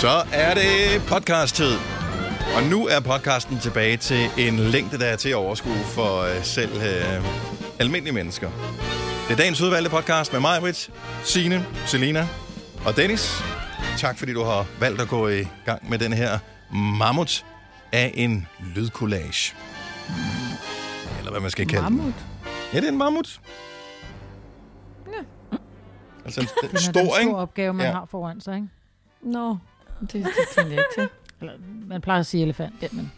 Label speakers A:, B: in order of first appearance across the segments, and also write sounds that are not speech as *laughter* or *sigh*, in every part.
A: Så er det podcast-tid. Og nu er podcasten tilbage til en længde, der er til at overskue for øh, selv øh, almindelige mennesker. Det er dagens udvalgte podcast med mig, Britt, Signe, Selina og Dennis. Tak fordi du har valgt at gå i gang med den her mammut af en lydcollage. Eller hvad man skal kalde den.
B: Mammut.
A: Ja, det er en mammut. Ja. Altså en, en
B: Det er den
A: stor,
B: store
A: ikke?
B: opgave, man
A: Ja.
B: ja. har foran sig, ikke?
C: Nå, det er dialekt,
B: Eller, man plejer at sige elefant, ja, men...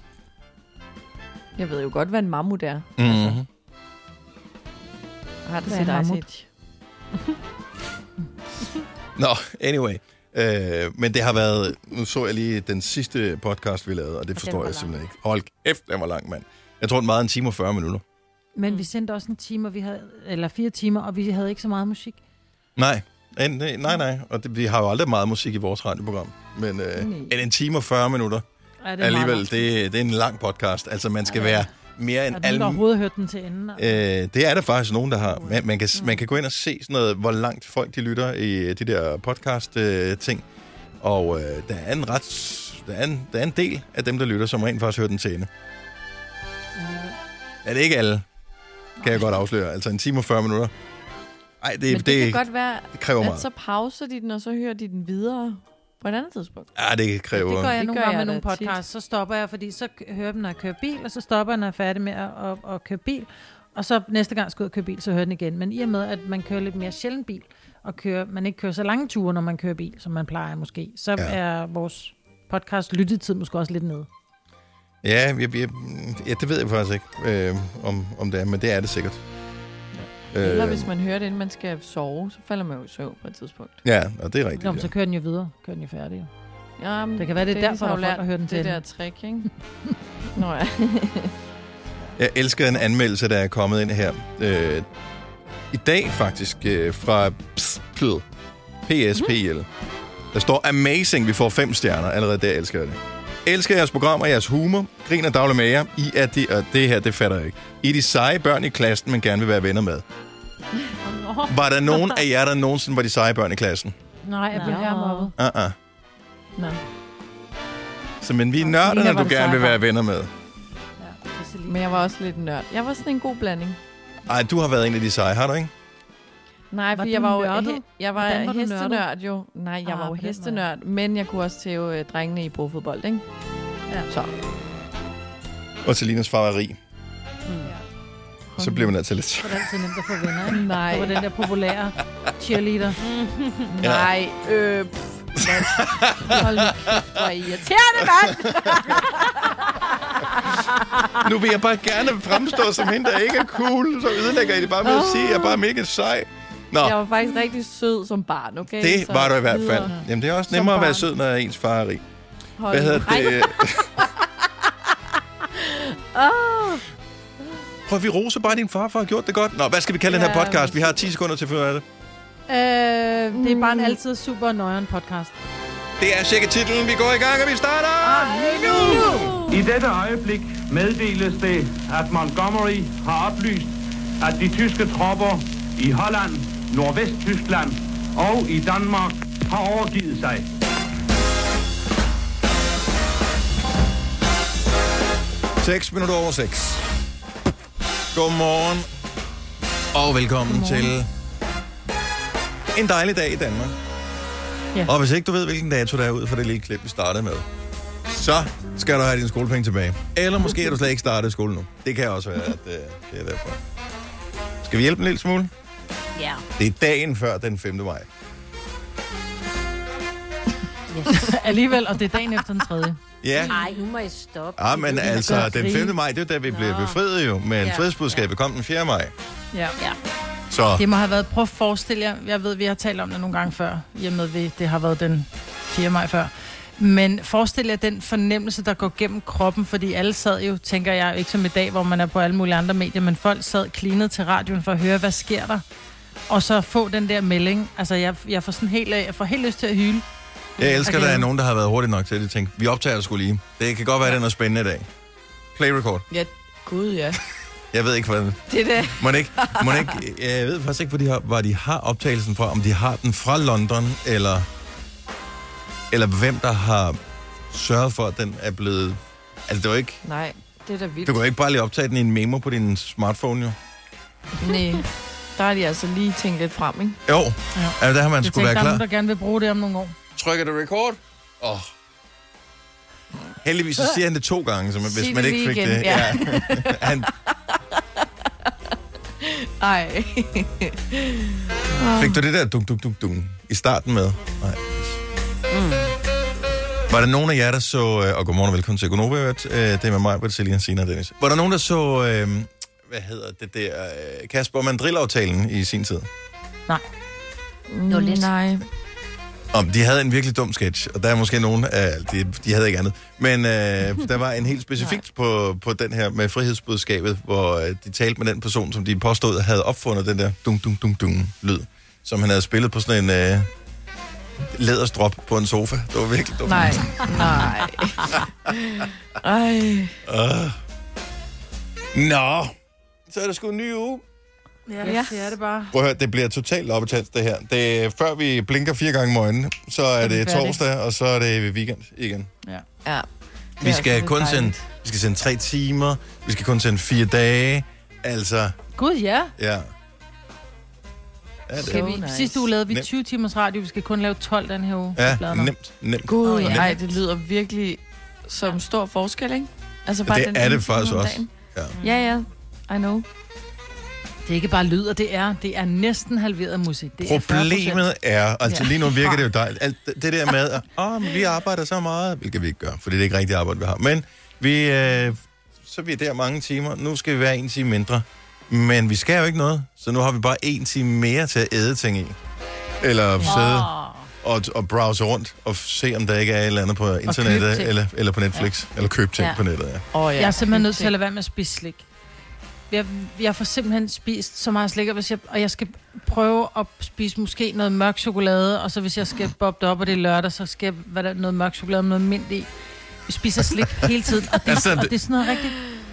C: Jeg ved jo godt, hvad en mammut er.
A: Mm-hmm.
C: Jeg har det
B: Hvad er
C: set
B: en
C: Ice
B: mammut?
C: Age.
A: Nå, anyway. Øh, men det har været... Nu så jeg lige den sidste podcast, vi lavede, og det forstår
D: var
A: jeg
D: lang.
A: simpelthen ikke. Hold kæft, den var lang, mand. Jeg tror, den var en time og 40 minutter.
B: Men vi sendte også en time, og vi havde, eller fire timer, og vi havde ikke så meget musik.
A: Nej, en, nej, nej, nej. Og det, vi har jo aldrig meget musik i vores radioprogram. Men øh,
B: Nej.
A: en, en time og 40 minutter,
B: Ja, det
A: det alligevel, det, det er en lang podcast. Altså, man skal være mere end
B: Er
A: alle...
B: der overhovedet hørt den til enden?
A: Øh, det er der faktisk nogen, der har. Man, man, kan, man kan gå ind og se sådan noget, hvor langt folk de lytter i øh, de der podcast-ting. og øh, der er en ret... Der er en, der er en del af dem, der lytter, som rent faktisk hører den til ende. Er det ikke alle? Kan jeg godt afsløre. Altså en time og 40 minutter. Nej, det,
C: Men det,
A: det,
C: kan
A: det,
C: godt være,
A: kræver
C: at
A: meget.
C: så pauser de den, og så hører de den videre på et andet tidspunkt.
A: Ja, det kræver...
C: Det gør
B: jeg
C: det
B: nogle
C: gør
B: gange med
C: jeg
B: nogle
C: da tit.
B: podcasts, så stopper jeg, fordi så k- hører jeg dem, når jeg kører bil, og så stopper jeg, når jeg er færdig med at, at, at køre bil. Og så næste gang jeg skal ud og køre bil, så hører jeg den igen. Men i og med, at man kører lidt mere sjældent bil, og kører, man ikke kører så lange ture, når man kører bil, som man plejer måske, så
A: Ja.
B: ja. er vores podcast lyttetid måske også lidt nede.
A: Ja, jeg, jeg, ja, det ved jeg faktisk ikke, øh, om, om det er, men det er det sikkert.
C: Øh. Eller hvis man hører det, inden man skal sove, så falder man jo i søvn på et tidspunkt.
A: Ja, og det er rigtigt.
B: Nå,
A: Ja.
B: men så kører den jo videre. Kører den jo færdig. jo.
C: Jamen,
B: Det kan være, det er
C: de
B: derfor,
C: har jo
B: der er folk, der hører den til
C: Det der
B: enden.
C: trick,
B: *laughs*
C: ikke? Nå ja.
A: Jeg elsker en anmeldelse, der er kommet ind her. Øh, I dag faktisk, øh, fra PSPL. PSPL. Der står Amazing, vi får fem stjerner. Allerede der elsker jeg det. Elsker jeres program og jeres humor. Griner daglig med jer. I er det, og det her, det fatter jeg ikke. I er de seje børn i klassen, man gerne vil være venner med. Var der nogen af jer, der nogensinde var de seje børn i
B: *laughs*
A: klassen?
B: Nej, jeg
C: blev
B: bliver her mobbet.
A: Uh-uh.
C: Nå,
A: Så men vi er
B: Selina
A: nørderne,
B: var
A: du
B: det
A: gerne vil
B: seje
A: være venner med.
C: men jeg var også lidt nørd. Jeg var sådan en god blanding.
A: Ej, du har været en af de seje, har du ikke?
C: Nej,
B: Var
C: for
B: du
C: jeg var jo
B: nørdet?
C: he- jeg var,
B: Hvordan
C: var
B: var du nørdet?
C: hestenørd jo. Nej, jeg
B: Ah,
C: ah, var jo
B: på den måde.
C: hestenørd, men jeg kunne også tæve øh, drengene i brofodbold, ikke?
B: Ja.
C: Så.
A: Og Selinas far var rig.
C: Ja.
B: Mm.
A: Så blev man altid lidt
B: Det var altid nemt at få venner, ikke?
C: Nej,
B: Det var den der populære *laughs* cheerleader.
C: nej, øh, pff,
B: *laughs*
C: mand. Hold nu kæft, hvor er I irriterende, mand!
A: Nu vil jeg bare gerne fremstå som hende, der ikke er cool. Så ødelægger I det bare med at sige, at jeg er bare mega sej. Nå,
C: Jeg var faktisk rigtig sød som barn, okay?
A: det
C: Så
A: var du i hvert fald.
C: videre.
A: Jamen, det er også
C: Som
A: nemmere at være
C: barn.
A: sød, når ens far er rig.
C: Hold
A: Hvad hedder
C: nu- Ej,
A: det?
B: Ah.
A: Prøv, vi roser bare din far for at have gjort det godt. Nå, hvad skal vi kalde den her
C: Ja,
A: podcast? Vi har 10 sekunder til at finde ud af det.
B: Øh, det er bare en
C: Mm.
B: altid super nøjeren podcast.
A: Det er cirka titlen. Vi går i gang, og vi starter
C: Ah,
A: nu!
E: I dette øjeblik meddeles det, at Montgomery har oplyst, at de tyske tropper i Holland, Nordvesttyskland og i Danmark har overgivet sig.
A: Seks minutter over 6. Godmorgen. Og velkommen Godmorgen. til en dejlig dag i Danmark. Ja.
C: Ja.
A: Og hvis ikke du ved, hvilken dato der er ud for det lille klip, vi startede med, så skal du have dine skolepenge tilbage. Eller måske er du slet ikke startet i skole nu. Det kan også være, at øh, det er derfor. Skal vi hjælpe en lille smule?
D: Ja.
A: Det er dagen før den 5. maj.
B: *laughs* Alligevel, og det er dagen efter den tredje.
A: Ja,
D: Nej, nu må jeg stoppe.
A: ja men
B: kan
A: altså,
B: godt
A: den
B: grine.
A: 5. maj, det er da vi blev
D: Nå.
A: befriet jo, men
D: Ja.
A: fredsbudskabet kom den 4. maj.
B: Ja.
D: Ja.
A: Så
B: Det må have været, prøv at forestille jer, jeg ved, vi har talt om det nogle gange før, i og med, vi, det har været den 4. maj før. Men forestil jer den fornemmelse, der går gennem kroppen, fordi alle sad jo, tænker jeg, ikke som i dag, hvor man er på alle mulige andre medier, men folk sad klinet til radioen for at høre, hvad sker der? Og så få den der melding. Altså, jeg, jeg får sådan helt, jeg får helt lyst til at hyle.
A: Jeg elsker, at der
B: Okay.
A: er nogen, der har været hurtigt nok til at de tænker, vi optager sgu lige. Det kan godt være, at den er spændende i dag. Play record.
C: Ja, gud ja.
A: Jeg ved ikke, hvordan...
C: Det der.
A: Må ikke, må ikke, jeg ved faktisk ikke, hvor de har, hvor de har optagelsen fra. Om de har den fra London, eller... eller hvem der har sørget for, at den er blevet... Altså, det var ikke...
C: Nej, det er da vildt.
A: Du kan jo ikke bare lige optage den i en memo på din smartphone, jo.
C: Nej, der har de altså lige tænkt lidt frem, ikke?
A: Jo, altså, der har man
B: Jeg
A: skulle
B: tænker,
A: være
B: der er
A: klar.
B: nogen, der gerne vil bruge det om nogle år.
A: Trykker du record? Åh. Oh. Heldigvis så siger han det to gange, så man,
C: Sig
A: Altså, hvis
C: det
A: man ikke
C: lige
A: fik
C: igen,
A: det.
C: ja.
A: *laughs* han
C: Ej.
A: Fik du det der dunk, dunk, dunk, dunk i starten med? Nej.
C: Mm.
A: Var der nogen af jer, der så... øh, Og godmorgen og velkommen til Gonova. i øvrigt. Øh, Det er med mig, Britt, Selina, Sina og Dennis. Var der nogen, der så... Øh, hvad hedder det der... øh, Kasper Mandrill-aftalen i sin tid?
B: Nej.
C: Nå, lidt. Nej.
D: *laughs*
A: Om de havde en virkelig dum sketch, og der er måske nogen af... De, de havde ikke andet. Men øh, der var en helt specifik på, på den her med frihedsbudskabet, hvor øh, de talte med den person, som de påstod havde opfundet den der dung, dung, dung, dung lyd, som han havde spillet på sådan en... Øh, læderstrop på en sofa. Det var virkelig dumt.
C: Nej. Nej. Ej.
A: Uh. Nå, så er der sgu en ny uge.
B: Ja,
C: Ja.
B: det er det bare.
A: Prøv at høre, det bliver totalt opetalt, det her. Det, er- før vi blinker fire gange om øjnene, så er
B: vi
A: det
B: færdige.
A: torsdag, og så er det weekend igen.
C: Ja.
A: Vi
C: Det er
A: skal
C: altså
A: kun
C: lidt
A: sende,
C: dejligt.
A: vi skal sende tre timer, vi skal kun sende fire dage. Altså,
B: Gud, ja.
A: ja. Ja, det
C: Okay.
A: er
B: Kan vi,
C: nice.
B: Sidste uge lavede vi
A: Nemt.
B: 20 timers radio. Vi skal kun lave 12 den her uge. Det
A: ja,
B: bladrer.
A: nemt, nemt.
C: Gud,
A: Og
C: nej,
A: nemt.
C: det lyder virkelig som stor forskel, ikke? Altså bare
A: Det
C: den
A: er
C: ene
A: det
C: time
A: faktisk
C: om
A: også.
C: dagen.
A: Ja.
C: Ja, ja. I know.
B: Det er ikke bare lyder, det er. Det er næsten halveret musik. Det er 40%.
A: Problemet er, altså
B: Ja. Ah.
A: lige nu virker det jo dejligt, alt det- det der med, at oh, men vi arbejder så meget, hvilket vi ikke gør, for det er ikke rigtigt arbejde, vi har. Men vi, øh, så er vi der mange timer, nu skal vi være en time mindre. Men vi skal jo ikke noget, så nu har vi bare en time mere til at æde ting i. Eller sidde og, og browse rundt og se, om der ikke er et eller andet på internettet,
B: ting.
A: eller, eller på Netflix, ja. eller købe ting ja.
C: Ja.
A: på nettet. Ja.
C: Åh, ja.
B: Jeg er simpelthen nødt til at lade være med at spise slik. Jeg, jeg får simpelthen spist så meget slik, og, hvis jeg, og jeg skal prøve at spise måske noget mørk chokolade, og så hvis jeg skal boppe det op, og det er lørdag, så skal jeg hvad der, noget mørk chokolade med noget mint i. Jeg spiser slik hele tiden, og det,
A: *laughs* Altså, det-
B: og det er sådan noget rigtigt...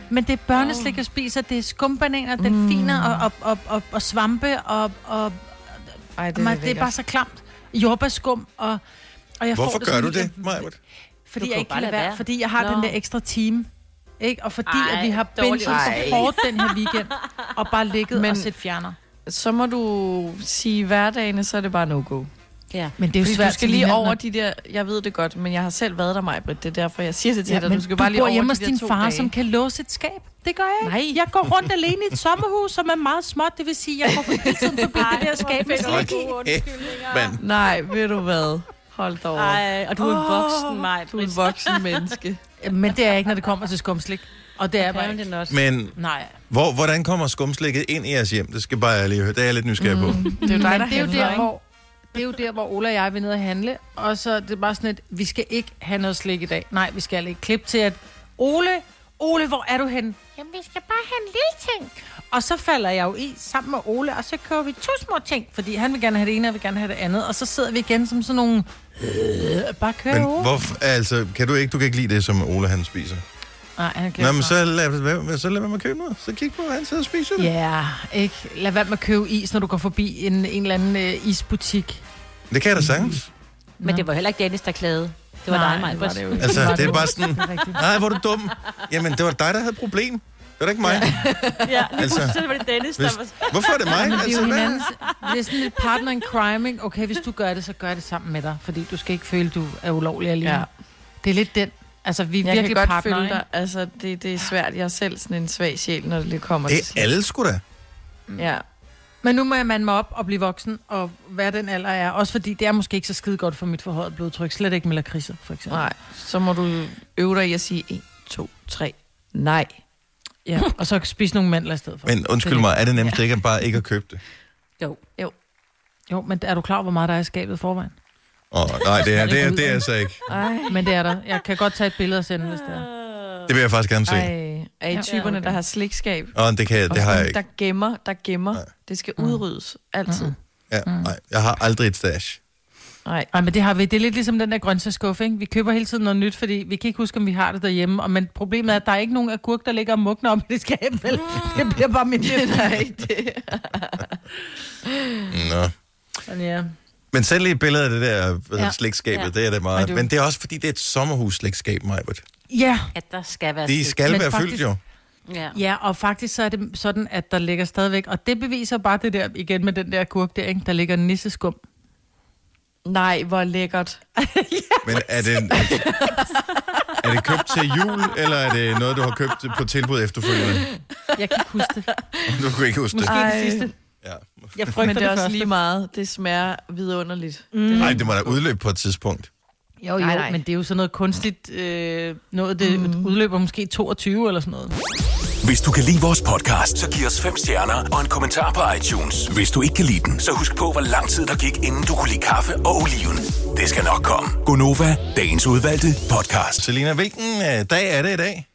B: Men det er børneslik, jeg spiser, det er skumbananer,
C: Mm.
B: delfiner og, og, og, og, og svampe, og, og
C: Ej, det,
B: det, er, det er bare så klamt. Jordbærskum, og, og jeg får
A: Hvorfor
B: det
A: gør
B: sådan
A: du
B: lidt-
A: det, Majbert?
D: Du
B: fordi jeg
D: kan
B: ikke
D: jo
B: kan
D: bare
B: lade
D: lade
B: være,
D: være.
B: fordi jeg har
D: Nå.
B: den der ekstra time. Ikke? Og fordi Ej,
D: Ej,
B: at vi har
D: dårlig
B: benchet så
C: idé.
B: hårdt den her weekend, og bare ligget Men,
C: Men-
B: og set fjerner.
C: så må du sige hverdagene, så er det bare no-go.
D: Ja.
B: Men det er jo
C: Fordi
B: svært.
C: du skal lige over de der... Jeg ved det godt, men jeg har selv været der, mig, Britt. Det er derfor, jeg siger det til
B: Ja,
C: dig.
B: men
C: Du skal bare lige
B: bor
C: over de
B: hjemme hos
C: der
B: din
C: to
B: far,
C: dage.
B: som kan låse et skab. Det gør jeg ikke.
C: Nej.
B: Jeg går rundt alene i et sommerhus, som er meget småt. Det vil sige, jeg går hele tiden forbi det der skab. med slik.
A: Men,
C: Nej, ved du hvad? Hold da over.
D: Ej, og du er en voksen, Maj.
C: Du er en voksen menneske.
B: Men det er jeg ikke, når det kommer til skumslik. Og det er jeg bare ikke.
D: not.
A: men
B: Nej.
A: hvor, hvordan kommer skumslækket ind i jeres hjem? Det skal bare jeg lige høre. Det er jeg lidt nysgerrig på.
C: Det er jo dig,
B: Men
C: der
B: det er jo
C: handler,
B: der,
C: ikke?
B: hvor, det er jo der, hvor Ola og jeg vil ned og handle, og så er det bare sådan et, vi skal ikke have noget slik i dag. Nej, vi skal ikke. Klip til, at Ole, Ole, hvor er du henne? Jamen, vi skal bare have en lille ting. Og så falder jeg jo i sammen med Ole, og så kører vi to små ting, fordi han vil gerne have det ene, og jeg vil gerne have det andet. Og så sidder vi igen som sådan nogle... Øh, bare kører
A: Men
B: over.
A: hvorfor, altså, kan du ikke, du kan ikke lide det, som Ole han spiser?
B: Nej, han glemmer
A: Nå, men
B: mig.
A: så lad, hvad- så lad mig købe noget. Så kig på, at han sidder og spiser det.
B: Ja, ikke? Lad være med at købe is, når du går forbi en, en eller anden øh, isbutik.
A: Det kan jeg da sagtens.
D: Men det var heller ikke Dennis, der klagede. Det var
B: Nej,
D: dig, Maj.
B: det var det jo ikke.
A: Altså,
B: var
A: det er
B: dumt.
A: bare sådan,
B: Det er rigtigt.
A: nej, hvor er du dum. Jamen, det var dig, der havde et problem. Det var da ikke mig.
D: *laughs* Ja, lige
A: Altså,
D: altså, så var det Dennis, der
A: Hvis,
D: var...
A: hvorfor er det mig?
B: Men det er
A: Altså,
B: jo
A: hvad?
B: hinandens, det er sådan lidt partner in crime, ikke? Okay, hvis du gør det, så gør det sammen med dig, fordi du skal ikke føle, du er ulovlig alene. Ja.
C: Ja.
B: Det er lidt den. Altså, vi er
C: Jeg
B: virkelig
C: kan godt
B: partner,
C: følge
B: ikke?
C: dig. Altså, det, det er svært. Jeg er selv sådan en svag sjæl, når det lige kommer
A: Det
C: til.
A: er alle sgu da.
C: Ja.
B: Men nu må jeg mande mig op og blive voksen, og hvad den alder er. Også fordi det er måske ikke så skide godt for mit forhøjet blodtryk. Slet ikke med lakridser, for eksempel.
C: Nej, så må du øve dig i at sige 1, 2, 3, nej.
B: Ja, og så spise nogle mandler i stedet for.
A: Men undskyld mig, er det nemt ikke at bare ikke at købe det?
D: Jo.
B: Jo, men er du klar over, hvor meget der er i skabet i forvejen?
A: Åh, nej, det er, det er, det er altså ikke.
C: Ej,
B: Men det er der. Jeg kan godt tage et billede og sende, hvis det er.
A: Det vil jeg faktisk gerne se.
C: ej. Er I typerne, der har slikskab?
A: Åh, det kan jeg,
C: Og
A: det har jeg
C: sådan,
A: ikke.
C: Der gemmer, der gemmer. Det skal
B: Mm.
C: udryddes, altid.
A: Ja, nej, jeg har aldrig et stash.
C: Nej.
B: Ej, men det har vi. Det er lidt ligesom den der grøntsagsskuffe, ikke? Vi køber hele tiden noget nyt, fordi vi kan ikke huske, om vi har det derhjemme. Og, men problemet er, at der er ikke nogen agurk, der ligger og mugner om i det skab, vel?
C: Mm.
B: Det bliver bare mit liv.
C: Det er ikke det.
A: Nå.
B: *laughs* Men ja.
A: Men send lige et billede af det der ja.
D: Ja.
A: slægtskabet,
D: Ja.
A: det er det meget.
B: Ej, du-
A: Men det er også fordi, det er et sommerhus-slægtskab, Majbert.
B: Ja,
D: At der skal være
A: De
D: slik.
A: skal
B: Men
A: være
B: faktisk-
A: fyldt jo.
D: Ja.
B: ja, og faktisk så er det sådan, at der ligger stadigvæk, og det beviser bare det der, igen med den der kurk der, ikke? der ligger nisseskum.
C: Nej, hvor lækkert.
A: Men er det,
B: *laughs*
A: er det købt til jul, eller er det noget, du har købt på tilbud efterfølgende?
B: *laughs* Jeg kan ikke huske det.
A: Du kunne ikke huske det.
B: Måske Ej.
C: Ej.
B: det sidste.
A: Ja.
B: Jeg frygter
C: Men det er også
B: første.
C: lige meget. Det smager vidunderligt.
B: Mm.
A: Nej, det må da udløbe på et tidspunkt.
B: Jo, jo,
C: Nej, nej.
B: men det er jo sådan noget kunstigt øh, noget, det mm. udløber måske 22 eller sådan noget.
F: Hvis du kan lide vores podcast, så giv os fem stjerner og en kommentar på iTunes. Hvis du ikke kan lide den, så husk på, hvor lang tid der gik, inden du kunne lide kaffe og oliven. Det skal nok komme. Gonova, dagens udvalgte podcast.
A: Selina, hvilken øh, dag er det i dag?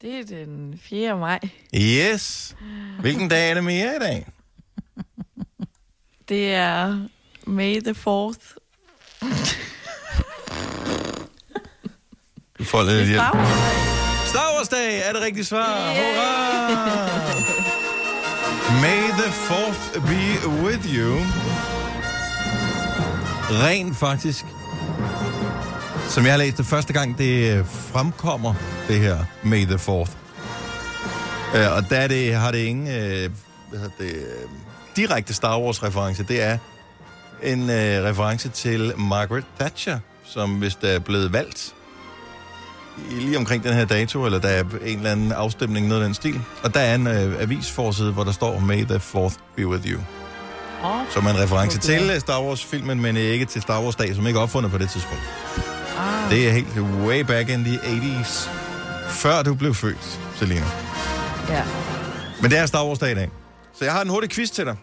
C: Det er den 4. maj.
A: Yes. Hvilken dag er det mere i dag?
C: Det er May the 4th.
A: Du får lidt hjælp.
C: Dag.
A: Star Wars Day er det rigtige svar. Yeah. Hurra! May the fourth be with you. Rent faktisk, som jeg har læst det første gang, det øh, fremkommer, det her May the fourth. Øh, og der er det, har det ingen øh, hvad hedder det, øh, direkte Star Wars-reference. Det er en øh, reference til Margaret Thatcher, som hvis der er blevet valgt i- lige omkring den her dato, eller der er en eller anden afstemning, noget af den stil. Og der er en øh, avisforside, hvor der står, May the 4th be with you.
D: Åh.
A: Som er en reference til øh, Star Wars-filmen, men ikke til Star Wars-dag, som ikke er opfundet på det tidspunkt. Ah. Det er helt way back in the 80s. Før du blev født, Selina.
C: Ja.
A: Men det er Star Wars-dag i dag. Så jeg har en hurtig quiz til dig.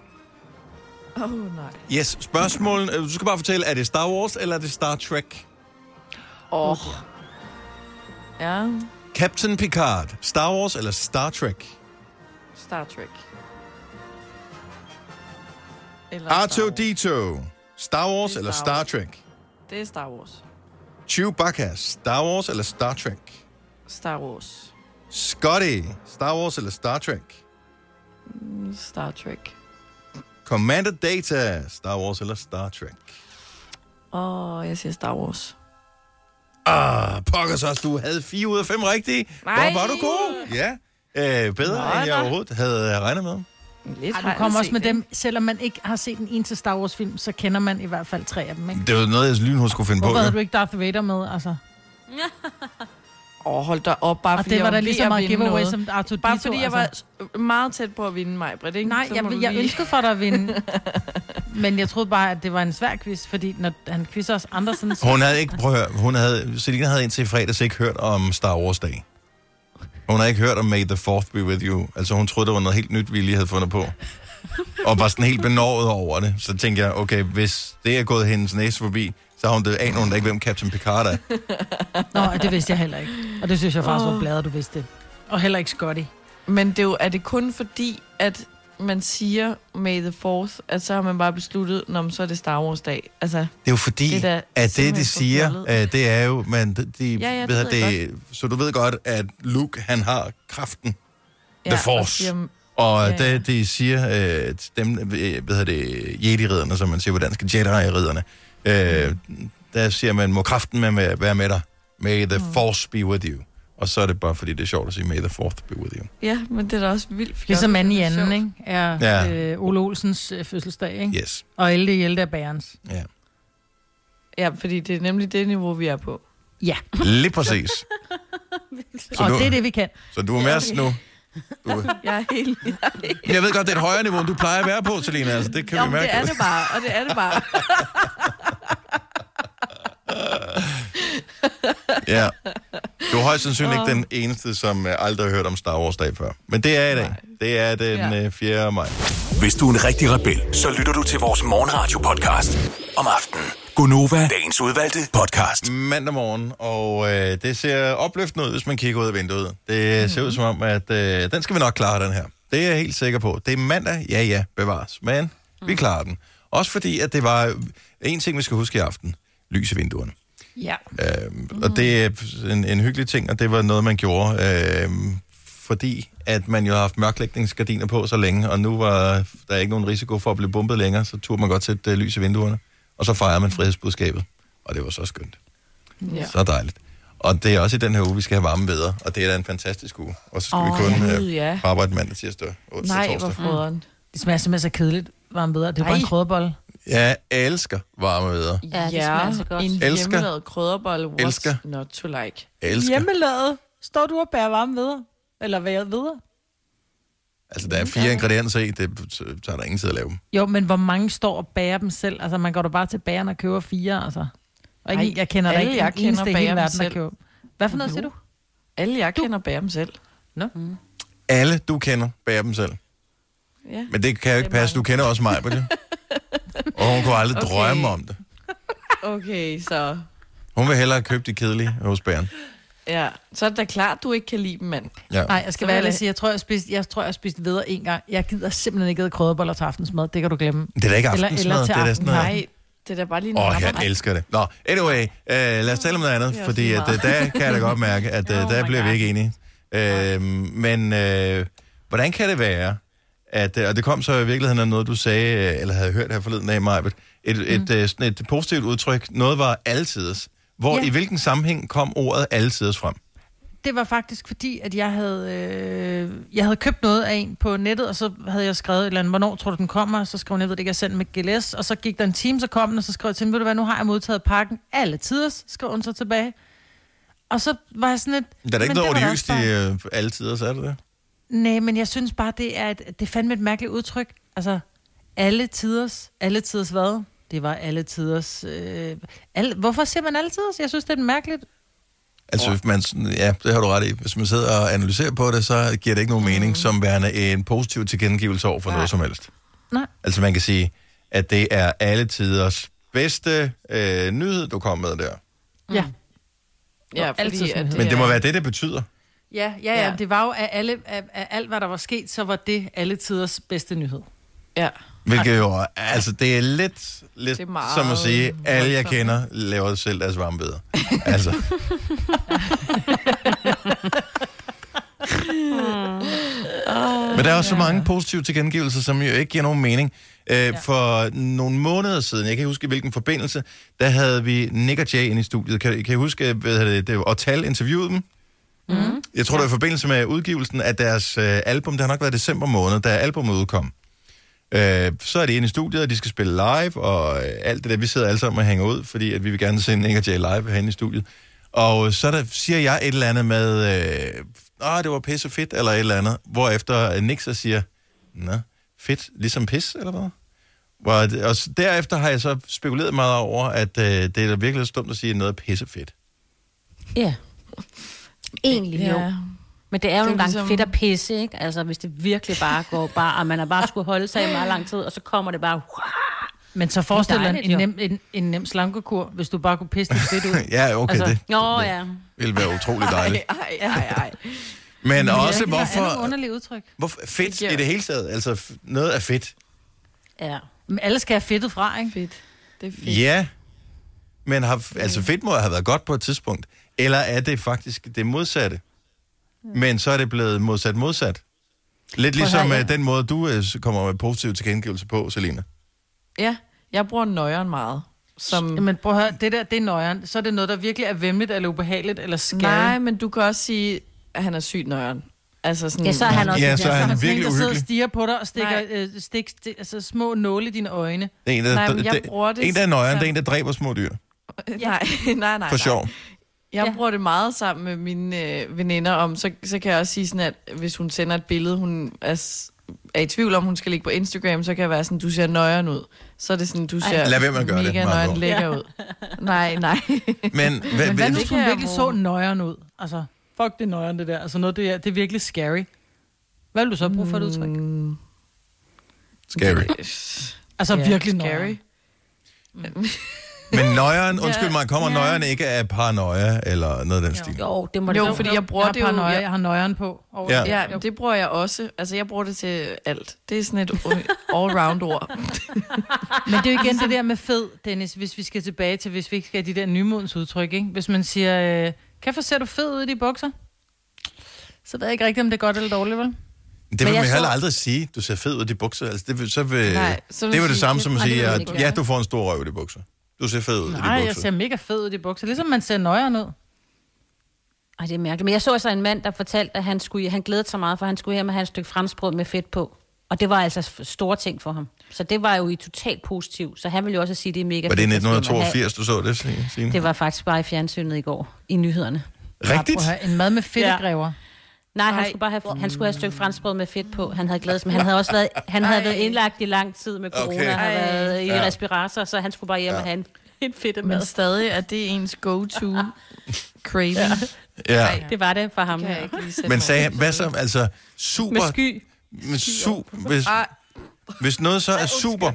C: Åh, oh, nej.
A: Yes, spørgsmålen. øh, Du skal bare fortælle, er det Star Wars eller er det Star Trek?
C: Åh. Oh. Ja,
A: Captain Picard, Star Wars eller Star Trek?
C: Star Trek. Eller Star Wars.
A: R2-D2, Star Wars
C: Det er
A: eller
C: Star
A: Star
C: Wars.
A: Trek?
C: Det er Star Wars.
A: Chewbacca, Star Wars eller Star Trek?
C: Star Wars.
A: Scotty, Star Wars eller Star Trek?
C: Star Trek.
A: Commander Data, Star Wars eller Star Trek?
C: Åh, oh, jeg siger Star Wars.
A: Ah, pokkers også, du havde 4 ud af 5 rigtige. Hvor var du god. Ja, øh, bedre
C: Nå,
A: end jeg
C: nå.
A: overhovedet havde øh, regnet med.
C: Lidt
B: Ej,
C: har jeg
B: du kommer også
C: set
B: med
C: det.
B: dem, selvom man ikke har set en eneste Star Wars-film, så kender man i hvert fald tre af dem, ikke?
A: Det var noget, jeg lynhurtigt skulle finde
B: Hvorfor
A: på.
B: havde
A: jo.
B: du ikke Darth Vader med, altså?
C: Åh, oh, hold da op, bare
B: Og
C: fordi
B: det var
C: jeg
B: der
C: var
B: lige
C: ved
B: så
C: at
B: meget
C: vinde
B: giveaway
C: noget.
B: som Arthur
C: Bare
B: Dito,
C: fordi jeg var
B: altså.
C: s- meget tæt på at vinde mig, Britt, ikke?
B: Nej,
C: Så må du
B: jeg, jeg
C: lige-
B: ønskede for dig
C: *laughs*
B: at vinde, men jeg troede bare, at det var en svær quiz, fordi når han quizzer os andre sådan...
A: Hun havde ikke, prøv at høre, hun havde, Selina havde indtil i fredags ikke hørt om Star Wars dag. Hun havde ikke hørt om May the 4th be with you. Altså hun troede, det var noget helt nyt, vi lige havde fundet på. Og var sådan helt benovet over det. Så tænkte jeg, okay, hvis det er gået hendes næse forbi, så har hun det aner hun da ikke, hvem Captain Picard er.
B: Nå, det vidste jeg heller ikke. Og det synes jeg faktisk var bladet, du vidste det. Og heller ikke Scotty.
C: Men det er, jo, er det kun fordi, at man siger May the 4th, at så har man bare besluttet, når så er det Star Wars dag. Altså,
A: Det er jo fordi,
C: Det er
A: det
C: da
A: at det, de
C: simpelthen
A: siger,
C: forfjollet.
A: øh, det er jo, men de, de,
C: Ja, ja, det
A: ved
C: ved jeg
A: det, så du ved godt, at Luke, han har kraften.
C: ja,
A: The
C: og
A: Force.
C: Siger,
A: Og ja,
C: Ja,
A: ja.
C: ja.
A: det, de siger, øh, dem, øh, hvad hedder det, Jedi-ridderne, som man siger på dansk, Jedi-ridderne, øh, der siger man, må kraften med, med, være med dig. May the mm. force be with you. Og så er det bare, fordi det er sjovt at sige, may the fourth be with you.
C: ja, men det er da også vildt fjollet.
B: Ligesom mand i
C: Det er
B: anden,
C: sjovt.
B: ikke? Er
A: Ja.
B: ja. øh, Ole Olsens øh, fødselsdag, ikke?
A: Yes.
B: Og Elde i Elde er bærens.
A: Ja.
C: Ja, fordi det er nemlig det niveau, vi er på.
B: Ja,
A: Lige præcis. Så
B: og
A: du,
B: det er det, vi kan.
A: Så du er med os nu. Du,
C: Jeg er helt...
A: jeg ved godt, det er et højere niveau, end du plejer at være på, Selina. Altså, det kan
C: Jamen,
A: vi mærke.
C: det er det bare, og det er det bare.
A: Ja. Du er højst sandsynligt ikke den eneste, som øh, aldrig har hørt om Star Wars dag før. Men det er i dag. Det er den
C: Ja.
A: øh, 4. maj.
F: Hvis du er en rigtig rebel, så lytter du til vores morgenradio-podcast om aftenen. Gonova, dagens udvalgte podcast.
A: mandag morgen, og øh, det ser opløftende ud, hvis man kigger ud af vinduet. Det mm-hmm. ser ud som om, at øh, den skal vi nok klare, den her. Det er jeg helt sikker på. Det er mandag, ja ja, bevares, men mm. vi klarer den. Også fordi, at det var en ting, vi skal huske i aften. Lys i vinduerne.
B: Ja.
A: Øhm, Og det er en, en hyggelig ting, og det var noget, man gjorde, øhm, fordi at man jo har haft mørklægningsgardiner på så længe, og nu var der ikke nogen risiko for at blive bumpet længere, så turde man godt sætte øh, lys i vinduerne. og så fejrede man frihedsbudskabet. Og det var så skønt.
C: Ja.
A: Så dejligt. Og det er også i den her uge, vi skal have varme vejr, og det er da en fantastisk uge. Og så skal
C: Åh,
A: oh, vi kun
C: gud,
A: øh,
C: ja.
A: på arbejde mandag, tirsdag, onsdag,
C: Nej, hvor
A: torsdag.
C: froderen.
B: Det smager simpelthen så kedeligt, varme bedre. Det er jo bare en
C: Ej.
B: krødebolle.
A: Jeg elsker varme vejr.
D: Ja, det smager altså godt.
C: en
A: Elsker.
C: hjemmelavet krydderbolle. What's
A: Elsker.
C: not to like?
A: Jeg elsker.
B: Hjemmelavet. Står du og bærer varme videre? Eller hvad jeg videre?
A: Altså, der er fire ingredienser i, det tager der ingen tid at lave dem.
B: Jo, men hvor mange står og bærer dem selv? Altså, man går da bare til bageren og køber fire, altså. Og ikke,
C: Ej,
B: jeg kender da
C: alle,
B: ikke
C: jeg
B: jeg
C: kender,
B: eneste i
C: bager
B: hele
C: dem
B: verden, der
C: selv.
B: køber. Hvad for noget siger du?
C: Alle jeg kender bærer dem selv. Mm.
A: Alle, du kender, bærer dem selv.
C: Ja.
A: Men det kan jo ikke passe. Du kender også mig, på det. Og hun kunne aldrig okay.
C: Okay.
A: drømme om det.
C: Okay, så...
A: Hun vil hellere købe de kedelige hos bæren.
C: Ja, så er det da klart, du ikke kan lide dem, mand.
A: Ja.
B: Nej, jeg skal
C: Så
B: være
C: vil
B: ærlig og
C: jeg-
B: sige, jeg tror, jeg spiste, jeg tror, jeg spiste videre en gang. Jeg gider simpelthen ikke æde krødeboller til aftensmad, det kan du glemme.
A: Det er da ikke
B: Eller-
A: aftensmad.
B: eller til
A: det er da
B: aften.
A: noget-
C: Nej, det er da bare lige en
A: Åh, oh,
C: hammer.
A: jeg elsker det. Nå, anyway, øh, lad os tale om noget andet,
C: Det er også
A: fordi
C: lige
A: at, øh, der kan jeg da godt mærke, at
B: *laughs*
A: øh,
B: Oh
A: der
B: my
A: bliver vi
B: God.
A: ikke enige. Øh, men øh, hvordan kan det være, at, øh, og det kom så i virkeligheden af noget, du sagde, øh, eller havde hørt her forleden af mig, et, et, mm. sådan et positivt udtryk, noget var altiders. Hvor,
B: Ja.
A: i hvilken sammenhæng kom ordet altiders frem?
B: Det var faktisk fordi, at jeg havde, øh, jeg havde købt noget af en på nettet, og så havde jeg skrevet et eller andet, hvornår tror du, den kommer? Og Så skrev hun, jeg ved det ikke, jeg sendte med GLS, og så gik der en time, så kom den, og så skrev jeg til hende, ved du hvad, nu har jeg modtaget pakken alle tiders, skrev hun så tilbage. Og så var jeg sådan et...
A: Der er da ikke
B: "Men
A: noget
B: det var da
A: odiøst
B: også
A: i
B: bare-
A: øh, altiders, er det det?
B: Nej, men jeg synes bare, det er, et, det er fandme et mærkeligt udtryk. Altså, alle tiders... Alle tiders hvad? Det var alle tiders... Øh, alle, hvorfor siger man alle tiders? Jeg synes, det er et mærkeligt...
A: Altså, hvis man, sådan- ja, det har du ret i. Hvis man sidder og analyserer på det, så giver det ikke nogen
B: Mm.
A: mening som værende en positiv tilkendegivelse over for noget som helst.
B: Nej.
A: Altså, man kan sige, at det er alle tiders bedste øh, nyhed, du kom med der.
B: Ja.
C: Ja, fordi,
B: altid sådan
C: at
B: noget.
A: Men det må
C: er-
A: være det, det betyder.
B: Ja, ja, ja.
C: Ja.
B: Det var jo af, alle, af, af alt, hvad der var sket, så var det alle tiders bedste nyhed.
C: Ja,
A: Hvilket jo, er- altså, det er lidt, lidt
C: Det
A: det
C: er meget
A: som at sige, alle jeg
C: voldsomt.
A: kender laver selv deres varmebeder. Altså, Men der er også så mange positive tilkendegivelser, som jo ikke giver nogen mening. Øh, ja. For nogle måneder siden, jeg kan ikke huske i hvilken forbindelse, der havde vi Nick og Jay inde i studiet. Kan, kan I huske, hvad hedder det, det var, og Tal interviewede dem? Mm. Jeg tror, det var i forbindelse med udgivelsen af deres øh, album. Det har nok været december måned, da albumet udkom. Øh, så er de inde i studiet, og de skal spille live, og øh, alt det der. Vi sidder alle sammen og hænger ud, fordi at vi vil gerne se Nick og Jay live herinde i studiet. Og så der, siger jeg et eller andet med, øh, Åh, det var pisse fedt, eller et eller andet. Hvorefter Nick så siger, Nå, fedt, ligesom pis, eller hvad? Hvor det, og s- derefter har jeg så spekuleret meget over, at øh, det er da virkelig dumt at sige, at noget er pisse fedt. *laughs*
D: Ja. Egentlig jo.
C: ja.
D: Men det
C: Det er
D: er jo nogle gange
C: ligesom-
D: ligesom... fedt at pisse, ikke? Altså, hvis det virkelig bare går bare, og man har bare skulle holde sig i meget lang tid, og så kommer det bare...
B: Men så forestil dig
D: dejligt,
B: en,
D: jo.
B: nem, en, en nem slankekur, hvis du bare kunne pisse det fedt ud.
A: Ja, *laughs* okay, altså,
B: Altså,
A: det
D: Nå ja.
A: ville være utrolig dejligt.
C: Ej, ej, ej.
A: Men
B: Det
A: også,
B: er et
A: hvorfor,
B: underligt udtryk.
A: hvorfor fedt
C: Ja.
A: i det hele taget? Altså, f- noget er fedt.
D: Ja.
B: Men alle skal have fedtet fra, ikke?
C: Fedt. Det er fedt.
A: Ja, men har,
C: Mm.
A: altså fedt må have været godt på et tidspunkt. Eller er det faktisk det modsatte?
C: Mm.
A: Men så er det blevet modsat modsat. Lidt ligesom
D: høre,
A: høre,
D: ja.
A: den måde, du øh, kommer med positive tilkendegivelser på, Selina.
C: Ja, jeg bruger nøjeren meget. Som...
B: Jamen prøv at høre, det der, det er nøjeren. Så er det noget, der virkelig er vemmeligt, eller ubehageligt, eller skærligt.
C: Nej, men du kan også sige, at han er sygt nøjeren. Altså sådan...
D: Ja, så er han også...
A: Ja, så er
B: Så er
A: han
B: der sådan en,
A: virkelig
B: der sidder og
A: uhyggelig.
B: stiger på dig og stikker
C: Nej.
B: øh, stik, stik, altså, små nåle i dine øjne.
A: Det er en, der,
C: Nej,
A: Nej,
C: men jeg
A: det,
C: bruger det
A: en, der er nøjeren,
C: som-
A: det er en, der dræber små dyr.
C: Nej, *laughs* nej, nej. nej.
A: For sjov.
C: Jeg
D: Ja.
C: bruger det meget sammen med mine øh, veninder om, så, så kan jeg også sige sådan, at hvis hun sender et billede, hun er, s- er i tvivl om, hun skal ligge på Instagram, så kan jeg være sådan, du ser nøjeren ud. Så er det sådan, du ser
A: Lad være med at gøre det,
C: mega
A: med andre
C: nøjeren
A: ord.
C: lækker ud. Nej, nej.
A: Men,
C: *laughs*
A: hvad,
B: Men hvad nu,
A: hvad,
B: hvis
C: kan
B: hun
C: jeg
B: virkelig så
C: bruge.
B: nøjeren ud? Altså, fuck det er nøjeren, det der. Altså, noget, det, er, det er virkelig scary. Hvad vil du så bruge
C: Mm,
B: for et udtryk?
A: scary.
B: Altså,
C: Ja,
B: virkelig
C: scary. *laughs*
B: nøjeren.
A: Men nøjeren, undskyld
C: Ja.
A: mig, kommer
C: Ja.
A: nøjeren ikke af paranoia eller noget af den stil?
D: Jo, det må det
C: Jo,
D: være.
C: fordi jeg bruger
B: jeg
C: det jo...
B: har paranoia,
C: jeg-
B: jeg har nøjeren på. Over
A: Ja.
B: det.
C: Ja, det bruger jeg også. Altså, jeg bruger det til alt. Det er sådan et
B: *laughs*
C: all-round ord.
B: Men det er jo igen det der med fed, Dennis, hvis vi skal tilbage til, hvis vi ikke skal have de der nymodens udtryk, ikke? Hvis man siger, øh, kan for ser du fed ud i de bukser? Så ved jeg ikke rigtigt, om det er godt eller dårligt, vel?
A: Det vil
D: jeg
A: man
D: så-
A: heller aldrig sige, du ser fed ud i de bukser. Altså, det, vil, så vil,
C: Nej, så vil
A: det var
C: sige,
A: det samme
C: det
A: som at
D: nej, det
A: sige,
D: vil man
A: at
D: ikke
A: ja,
D: gøre.
A: du får en stor røv i de bukser. Du ser fed ud
B: Nej,
A: i de
B: jeg
A: bukser.
B: ser mega fed ud i de bukser. Ligesom man ser nøjeren ud.
D: Ej, det er mærkeligt. Men jeg så altså en mand, der fortalte, at han, skulle, han glædede sig meget, for han skulle hjem og have et stykke franskbrød med fedt på. Og det var altså f- store ting for ham. Så det var jo i totalt positiv. Så han ville jo også sige, at det er mega
A: Var det i
D: fedt, at man skal hjem og have.
A: 1982, du så det, Signe?
D: Det var faktisk bare i fjernsynet i går, i nyhederne.
A: Rigtigt?
B: Prøv at høre, En mad med fedtegræver.
D: Nej, han skulle bare have, han skulle have et stykke franskbrød med fedt på. Han havde glædet sig, men han havde også været, han havde været indlagt i lang tid med corona,
A: Okay.
D: okay. havde
C: Ej.
D: været i
A: Ja.
D: respirator, så han skulle bare hjem og have en, en fedt
C: Men
D: mad.
C: stadig er det ens go-to craving. Ja.
A: Ja.
D: Det var det for ham.
C: Kan jeg
D: Ja.
C: ikke lige sætte
A: Men
C: mig
A: sagde
C: ind i.
A: hvad så, altså, super...
D: Med sky.
A: Men super, hvis, hvis noget så er super,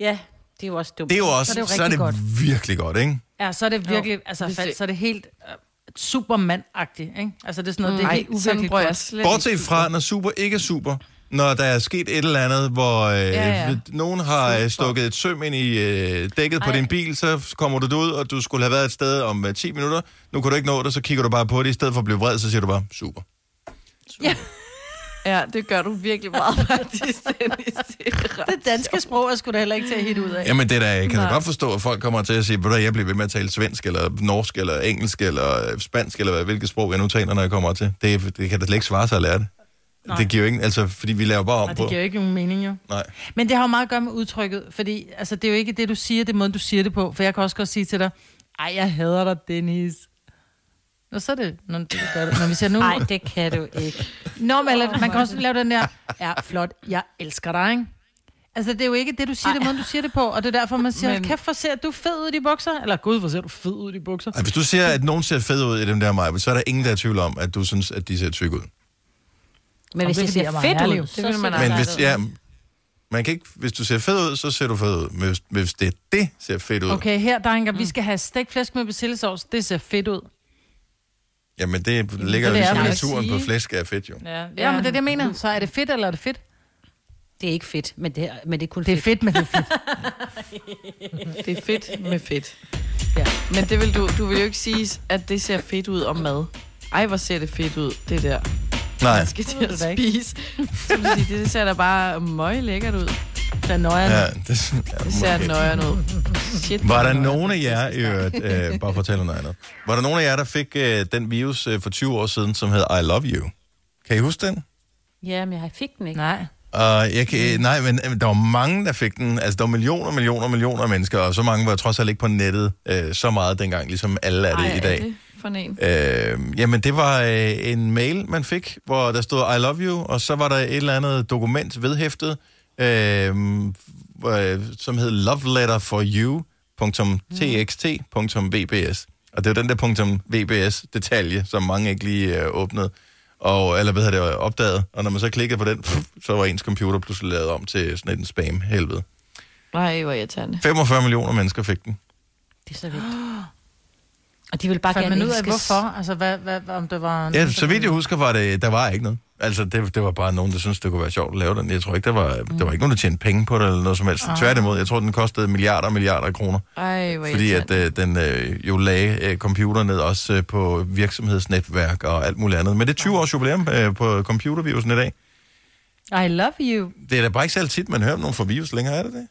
D: Ja, det er jo også dumt.
A: det er jo også,
B: Så er det jo
A: så er det
B: rigtig
A: virkelig godt, ikke?
B: Ja, så er det virkelig, altså
C: Hvis
B: fald,
C: det-
B: så er det helt uh, supermand-agtigt, ikke? Altså det er sådan noget, mm. det er helt
C: Ej, sådan
B: uvirkeligt
C: bruger jeg
B: godt.
C: slet
A: Bortset fra, når super ikke er super, når der er sket et eller andet, hvor øh, ja,
C: ja.
A: ja. nogen har super. stukket et søm ind i øh, dækket Ej. på din bil, så kommer du ud, og du skulle have været et sted om øh, 10 minutter. Nu kan du ikke nå det, så kigger du bare på det. I stedet for at blive vred, så siger du bare, super.
C: *laughs* Ja, det gør du virkelig meget faktisk, Dennis. Det er ret
B: Det danske sprog er sgu da heller ikke til at hitte ud af.
A: Jamen det der, jeg kan da
C: Nej.
A: godt forstå, at folk kommer til at sige, ved du, hvad, jeg bliver ved med at tale svensk, eller norsk, eller engelsk, eller øh, spansk, eller hvad, hvilket sprog jeg nu taler, når jeg kommer til. Det, det kan da slet ikke svare sig at lære det. Nej. Det giver jo ikke, altså, fordi vi laver bare om
B: Og
A: på.
B: det giver jo ikke nogen mening, jo.
A: Nej.
B: Men det har jo meget at gøre med udtrykket, fordi altså, det er jo ikke det, du siger, det er måden, du siger det på. For jeg kan også godt sige til dig, ej, jeg hader dig, Dennis. Og så er det, når, det gør det. når vi siger nu...
D: Nej, det kan du ikke.
B: Nå, men eller, man kan også lave den der, ja, flot, jeg elsker dig, ikke? Altså, det er jo ikke det, du siger, det er måden, du siger det på, og det er derfor, man siger, men...
C: Men-
B: kæft, hvor ser du fed ud i de bukser, eller gud, hvor ser du fed ud i de bukser.
A: Ej, hvis du ser, at nogen ser fed ud i dem der mig, så er der ingen, der er i tvivl om, at du synes, at de ser tykke ud.
D: Men hvis det,
B: det kan
D: det ser
B: blive meget
D: fedt
B: herlig,
D: ud,
B: jo.
D: så
C: Det vil man
D: ser
C: aldrig.
A: Men
C: nej,
A: hvis,
C: det er
A: ja, man kan ikke, hvis du ser fed ud, så ser du fed ud. Men hvis, hvis det er det, ser fedt ud, okay.
B: Okay, her, der er en
D: Mm.
B: gang, vi skal have stegt flæsk med persillesovs, det ser fedt ud.
A: jamen det ligger jo
B: det er
A: ligesom i
B: det.
A: naturen
C: Sige.
A: på flæsk er fedt jo.
B: Ja, ja, *laughs* men det er det, jeg mener. Så er det fedt, eller er det fedt?
D: Det er ikke fedt, men det er, men det er kun
B: Det er
D: fedt.
B: fedt, men det er fedt.
C: Det er fedt med fedt. Ja. Men det vil du, du vil jo ikke sige, at det ser fedt ud om mad. Ej, hvor ser det fedt ud, det der.
A: Nej,
C: Jeg skal til
B: Det ved
C: at
B: du da ikke.
C: spise. Så vil du sige, det ser da bare møg lækkert ud.
B: Der er nøjeren.
A: ja, det, ja,
C: Det ser
A: okay.
C: nøjeren ud. Shit.
A: Var der
C: nøjeren.
A: nogen af jer, i øvrigt, øh, bare fortæl noget andet. Var der nogen af jer, der fik øh, den virus øh, for 20 år siden, som hed I Love You? Kan I huske den?
D: Ja, men jeg fik den ikke.
B: Nej.
A: Uh, jeg
C: Mm.
A: kan, øh, nej, men øh, der var mange, der fik den. Altså, der var millioner, millioner, millioner af mennesker, og så mange var trods alt ikke på nettet øh, så meget dengang, ligesom alle er det
C: Ej,
A: i dag.
C: Er det for en?
A: Øh, jamen, det var øh, en mail, man fik, hvor der stod I love you, og så var der et eller andet dokument vedhæftet, øh, øh, som hed love letter for you.txt.vbs. Og det var den der .vbs-detalje, som mange ikke lige øh, åbnede, og, eller hvad hedder det, opdagede. Og når man så klikkede på den, pff, så var ens computer pludselig lavet om til sådan en spam-helvede.
C: Nej, hvor irriterende.
A: 45 millioner mennesker fik den.
D: *laughs* Det er så vildt. Og de vil bare
B: Fandt man
D: gerne
B: ud af,
D: elskes.
B: hvorfor? Altså, hvad, hvad, hvad, om det var...
A: Ja, så vidt jeg husker, var det, der var ikke noget. Altså, det, det var bare nogen, der syntes, det kunne være sjovt at lave den. Jeg tror ikke, der var, mm. der var ikke nogen, der tjente penge på det eller noget som helst. Ah. Tværtimod, jeg tror, den kostede milliarder og milliarder af kroner.
C: Ej, hvor
A: *laughs* Fordi at
C: irriterende.
A: øh, den øh, jo lagde øh, computer ned også øh, på virksomhedsnetværk og alt muligt andet. Men det er 20 års jubilæum øh, på computervirusen i dag.
B: I love you.
A: Det er da bare ikke særlig tit, man hører om nogen fra virus længere, er det det?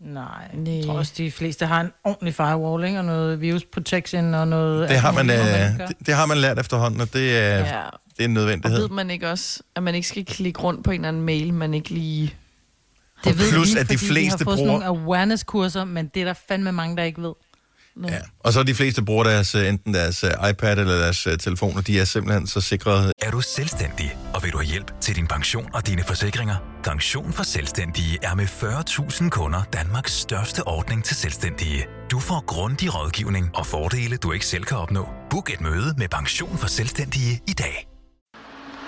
B: Nej,
C: Nej.
B: jeg tror også, de fleste har en ordentlig firewall, ikke? Og noget virus protection og noget...
A: Det har man, øh,
B: alt muligt, man gør.
A: det, det har man lært efterhånden, og det er, ja.
C: Ja.
A: det er
C: Og
A: en nødvendighed.
C: ved man ikke også, at man ikke skal klikke rundt på en eller anden mail, man ikke lige...
B: Det ved
A: Plus,
B: vi,
A: at de
B: fordi vi har
A: fleste
B: fået sådan
A: bruger-
B: nogle awareness-kurser, men det er der fandme mange, der ikke ved.
A: Ja. Og så de fleste bruger deres, øh, enten deres øh, iPad eller deres øh, telefoner. De er simpelthen så sikrede
F: Er du selvstændig, og vil du have hjælp til din pension og dine forsikringer? Pension for Selvstændige er med 40.000 kunder Danmarks største ordning til selvstændige. Du får grundig rådgivning og fordele, du ikke selv kan opnå. Book et møde med Pension for Selvstændige i dag.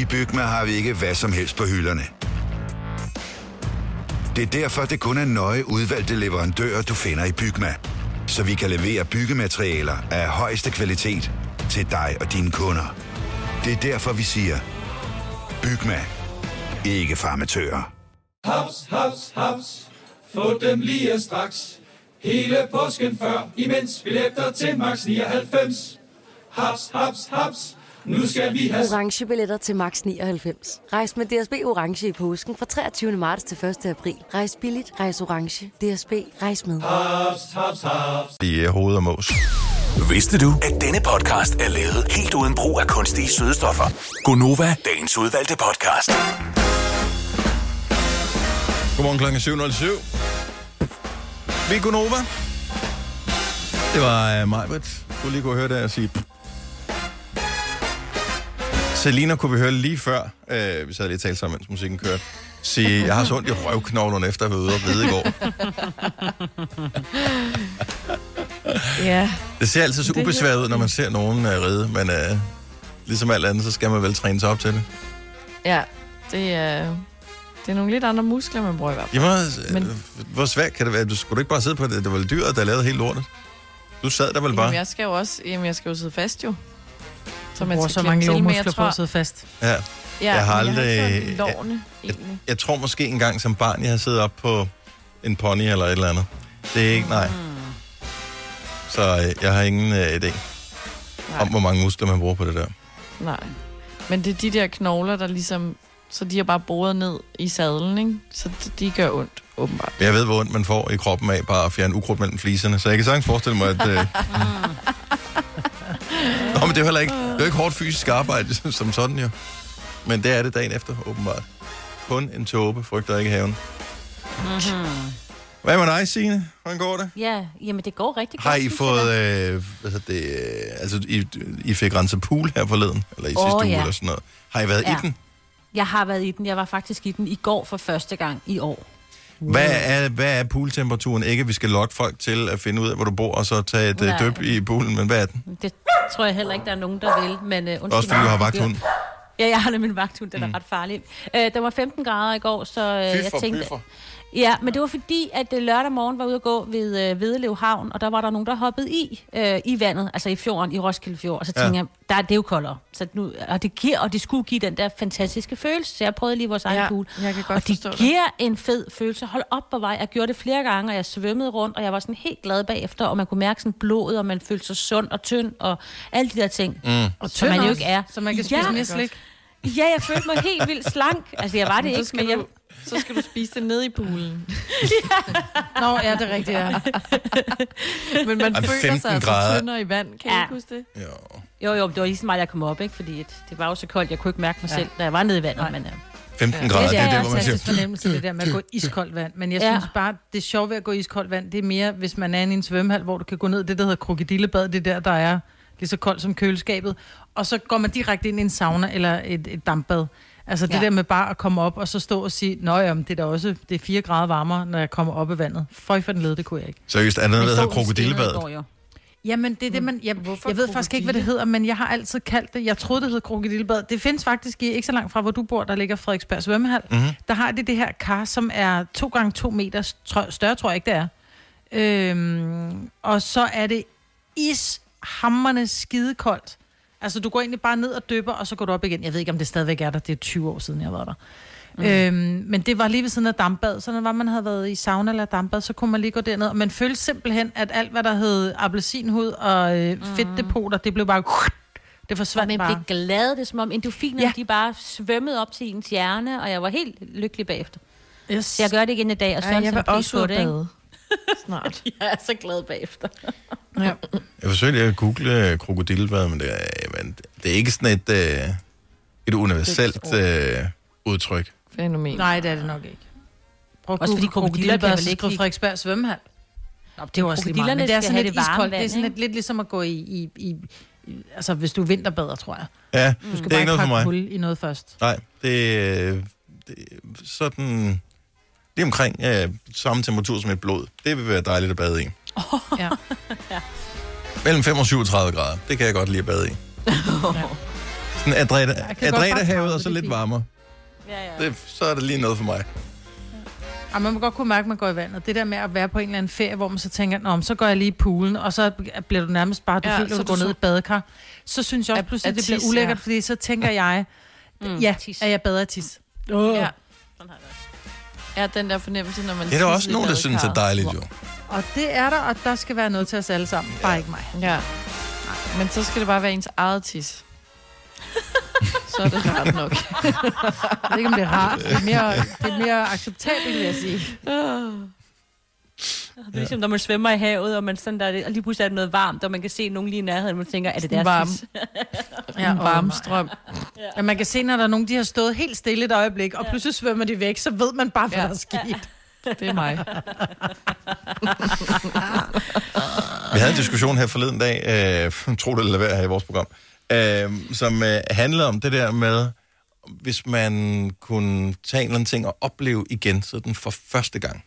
G: I Bygma har vi ikke hvad som helst på hylderne. Det er derfor, det kun er nøje udvalgte leverandører, du finder i Bygma. Så vi kan levere byggematerialer af højeste kvalitet til dig og dine kunder. Det er derfor, vi siger, Bygma. Ikke farmatører.
H: Haps, haps, haps. Få dem lige straks. Hele påsken før, imens billetter til max 99. Haps, haps, haps. Nu skal vi have...
I: orange billetter til max 99. Rejs med DSB orange i påsken fra 23. marts til 1. april. Rejs billigt, rejs orange. DSB rejs med.
H: Haps, haps, haps.
A: De er øh, hoved og mås.
F: Vidste du, at denne podcast er lavet helt uden brug af kunstige sødestoffer? Gonova, dagens udvalgte podcast.
A: Godmorgen klokken er 7.07. Vi er Gunova. Det var uh, Majbrit, du lige kunne høre der og sige... pff. Selina kunne vi høre lige før, uh, vi sad lige og talte sammen, mens musikken kørte, sige, jeg har så ondt i røvknoglerne efter at have været ude og bide i går.
C: Ja.
A: Det ser altid så ubesværet ud, når man ser nogen uh, ride, men uh, ligesom alt andet, så skal man vel træne sig op til det.
C: Ja, det er, det er nogle lidt andre muskler, man bruger i hvert fald.
A: Jamen,
C: Men-
A: men... øh, hvor svært kan det være? Du skulle du ikke bare sidde på det? Det var vel dyret, der lavede helt lortet. Du sad der vel bare?
C: Jamen, jeg skal jo også, jamen, jeg skal jo sidde fast jo. Så
B: Man bruger så
C: klemme
B: mange
C: til, men jeg
B: lovmuskler på
C: tror-
B: at sidde fast.
A: Ja.
C: Ja,
A: Jeg har
C: men Jeg har
A: aldrig-
C: ikke sådan lovene, egentlig.
A: Jeg tror måske engang som barn, jeg har siddet op på en pony eller et eller andet. Det er ikke, nej.
C: Hmm.
A: Så øh, jeg har ingen øh, idé
C: Nej.
A: om, hvor mange muskler man bruger på det der.
C: Nej. Men det er de der knogler, der ligesom... Så de er bare boret ned i sadlen, ikke? Så de- de gør ondt, åbenbart.
A: Jeg ved, hvor ondt man får i kroppen af bare at fjerne ukrudt mellem fliserne, så jeg kan sagtens forestille mig, at... Øh... Nå, men det er jo heller ikke, det er jo ikke hårdt fysisk arbejde *laughs* som sådan, jo. Men det er det dagen efter, åbenbart. Kun en tåbe frygter ikke haven.
J: Hmm.
A: Hvad med dig, Signe? Hvordan går det?
D: Mhm. Ja, jamen det går rigtig godt.
A: Har I
D: synes jeg
A: fået,
D: da.
A: øh, hvad hedder det, øh, altså I, I fik renset pool her forleden, eller i
D: Åh,
A: sidste uge
D: ja.
A: eller sådan noget. Har I været
D: Ja.
A: i den?
D: Jeg har været i den. Jeg var faktisk i den i går for første gang i år.
A: Hvad er, hvad er pooltemperaturen? Ikke, at vi skal lokke folk til at finde ud af, hvor du bor, og så tage et øh,
D: Nej.
A: døb i poolen, men hvad er den?
D: Det tror jeg heller ikke, der er nogen, der vil. Men, uh,
A: Også fordi du har vagthund. Mm.
D: Ja, jeg har nemlig en vagthund, den er ret farlig. Øh, der var 15 grader i går, så øh, jeg tænkte... Ja, men det var fordi, at øh, lørdag morgen var ude at gå ved øh, Vedelev Havn, og der var der nogen, der hoppede i øh, i vandet, altså i fjorden, i Roskilde Fjord, og så
A: Ja.
D: tænkte ja. jeg, der er det er jo koldere. Så nu, og, det giver, og det skulle give den der fantastiske følelse, så jeg prøvede lige vores egen
C: Ja,
D: pool.
C: jeg kan godt
D: og det
C: forstå dig.
D: giver en fed følelse. Hold op på vej. Jeg gjorde det flere gange, og jeg svømmede rundt, og jeg var sådan helt glad bagefter, og man kunne mærke sådan blodet, og man følte sig sund og tynd, og alle de der ting. Mm.
B: Og
D: Som man jo
B: tynd også,
D: ikke er.
B: Så man kan spise
D: Ja.
B: mere slik.
D: Ja, jeg følte mig helt vildt slank. Altså, jeg var det
C: Så
D: ikke,
C: skal,
D: men jeg...
C: du, så skal du spise det ned i poolen.
B: Nå, ja, det er rigtigt, ja.
C: *laughs* Men man
A: Ej, men
C: føler
A: 15
C: sig altså
A: grader.
C: tyndere i vand. Kan ja.
D: Ja.
C: I ikke huske det?
A: Jo.
D: Jo, jo, det var lige så meget, jeg kom op, ikke? Fordi et, det var jo så koldt, jeg kunne ikke mærke mig ja. selv, da jeg var nede i vandet. Men, øh, ja.
A: 15 grader,
B: Men
A: det
B: det
A: er
B: er
A: der,
B: en
D: altså
A: hvor man siger,
B: fantastisk fornemmelse, det der med at
A: *laughs*
B: gå i iskoldt vand. Men jeg
D: Ja.
B: ja. synes bare, det sjove ved at gå i iskoldt vand, det er mere, hvis man er inde i en svømmehal, hvor du kan gå ned i det, der hedder krokodillebad, det er der, der er lige så koldt som køleskabet. Og så går man direkte ind i en sauna eller et, et dampbad. Altså det
D: Ja.
B: ja. der med bare at komme op og så stå og sige, nå ja, men det er da også det er 4 grader varmere, når jeg kommer op af vandet. Føj for den led, det kunne jeg ikke.
A: seriøst, er der noget, der hedder
D: Solen skinnede i
A: krokodillebadet?
D: går, jo.
B: Jamen, det er det, man... Jeg,
C: hvorfor
B: jeg ved faktisk ikke, hvad det hedder, men jeg har altid kaldt det... Jeg troede, det hed krokodillebad. Det findes faktisk i, ikke så langt fra, hvor du bor, der ligger Frederiksberg Svømmehal.
A: Mm.
B: Mm-hmm. Der har det det her kar, som er to gange to meter str- større, tror jeg ikke, det er. Øhm, og så er det ishammerne skidekoldt. Altså, du går egentlig bare ned og dypper, og så går du op igen. Jeg ved ikke, om det stadigvæk er der. Det er 20 år siden, jeg var der. Mm. Øhm, men det var lige ved siden af dampbad, så når var man havde været i sauna eller dampbad, så kunne man lige gå derned, og man følte simpelthen, at alt hvad der hed appelsinhud og øh, fedtdepoter, det blev bare... Det
D: Og
B: forsvandt
D: man blev
B: bare.
D: glad, det er som om endorfinerne, ja.
B: Ja.
D: de bare svømmede op til ens hjerne, og jeg var helt lykkelig bagefter.
B: Yes.
D: Så jeg gør det igen i dag, og så er
C: jeg vil også ud
D: på
C: og
D: det, ikke? *laughs*
C: bade. Snart.
D: Jeg er så glad bagefter.
B: Ja.
A: Jeg forsøgte at google øh, krokodillebad, men det er, øh, men det er ikke sådan et, øh, et universelt øh, udtryk.
C: Fænomen.
B: Nej, det er det nok ikke. Prøv at
D: Også fordi
B: google
D: krokodiller kan
B: krokodillebad,
D: vel
B: så
D: ikke
B: skriv
D: lide-
B: Frederiksberg svømmehal. Nå, det var også lige meget,
D: Krokodillerne
B: men det er
D: skal
B: sådan
D: have
B: lidt
D: det varme
B: iskoldt. Det er
D: vand,
B: sådan lidt,
D: ikke?
B: lidt ligesom at gå i, i, i, i altså hvis du vinterbader, tror jeg.
A: Ja,
B: Mm. Du skal
A: det er ikke
B: bare
A: noget
B: pakke
A: for mig.
B: hul i noget først.
A: Nej, det, øh, det er sådan... Det er omkring øh, samme temperatur som et blod. Det vil være dejligt at bade i.
B: Ja. *laughs*
A: Mellem 5 og 37 grader. Det kan jeg godt lide at bade i. Sådan Adreda,
B: kan godt
A: Adreda
B: bare
A: havet
B: prøve,
A: og så
B: det er
A: lidt
B: fint.
A: varmere.
D: Ja, ja.
A: Det, så er det lige noget for mig.
B: Ej, man må godt kunne mærke, at man går i vandet. Det der med at være på en eller anden ferie, hvor man så tænker, Nå, men så går jeg lige i poolen, og så bliver du nærmest bare, du
C: Ja,
B: ja, føler,
C: så
B: du
C: du
B: går
C: så-
B: ned i et badekar. Så synes jeg også
C: At-
B: pludselig,
C: at
B: at det bliver
C: tisse,
B: ulækkert,
C: ja.
B: ja. fordi så tænker jeg, mm, ja,
D: tis.
B: er jeg bedre at tisse?
C: Ja. Ja, den der fornemmelse, når man...
A: Ja,
C: tisser
A: der er også
C: i
A: nogen, der synes, det er
C: badekarret.
A: dejligt, jo.
B: Og det er der, og der skal være noget til os alle sammen. Bare ikke mig.
C: Ja. Men så skal det bare være ens eget tis. så er det rart nok.
B: *laughs* Jeg ved ikke, om det er rart. Det er mere, det er mere acceptabelt, vil jeg sige.
D: Ah. Det er ligesom, når man svømmer i havet, og, man sådan der, og lige pludselig er der noget varmt, og man kan se nogen lige i nærheden, og man tænker, er det deres
C: Varm.
D: *laughs* tis?
B: *laughs* Ja,
C: En varm strøm.
B: Ja, man kan se, når der er nogen, de har stået helt stille et øjeblik, og pludselig svømmer de væk, så ved man bare, hvad
C: Ja.
B: ja. der er sket.
C: Det er mig.
B: *laughs*
A: Vi havde en diskussion her forleden dag, øh, *laughs* tro det eller lad være her i vores program, øh, som øh, handlede om det der med, hvis man kunne tage en eller anden ting og opleve igen, så den for første gang.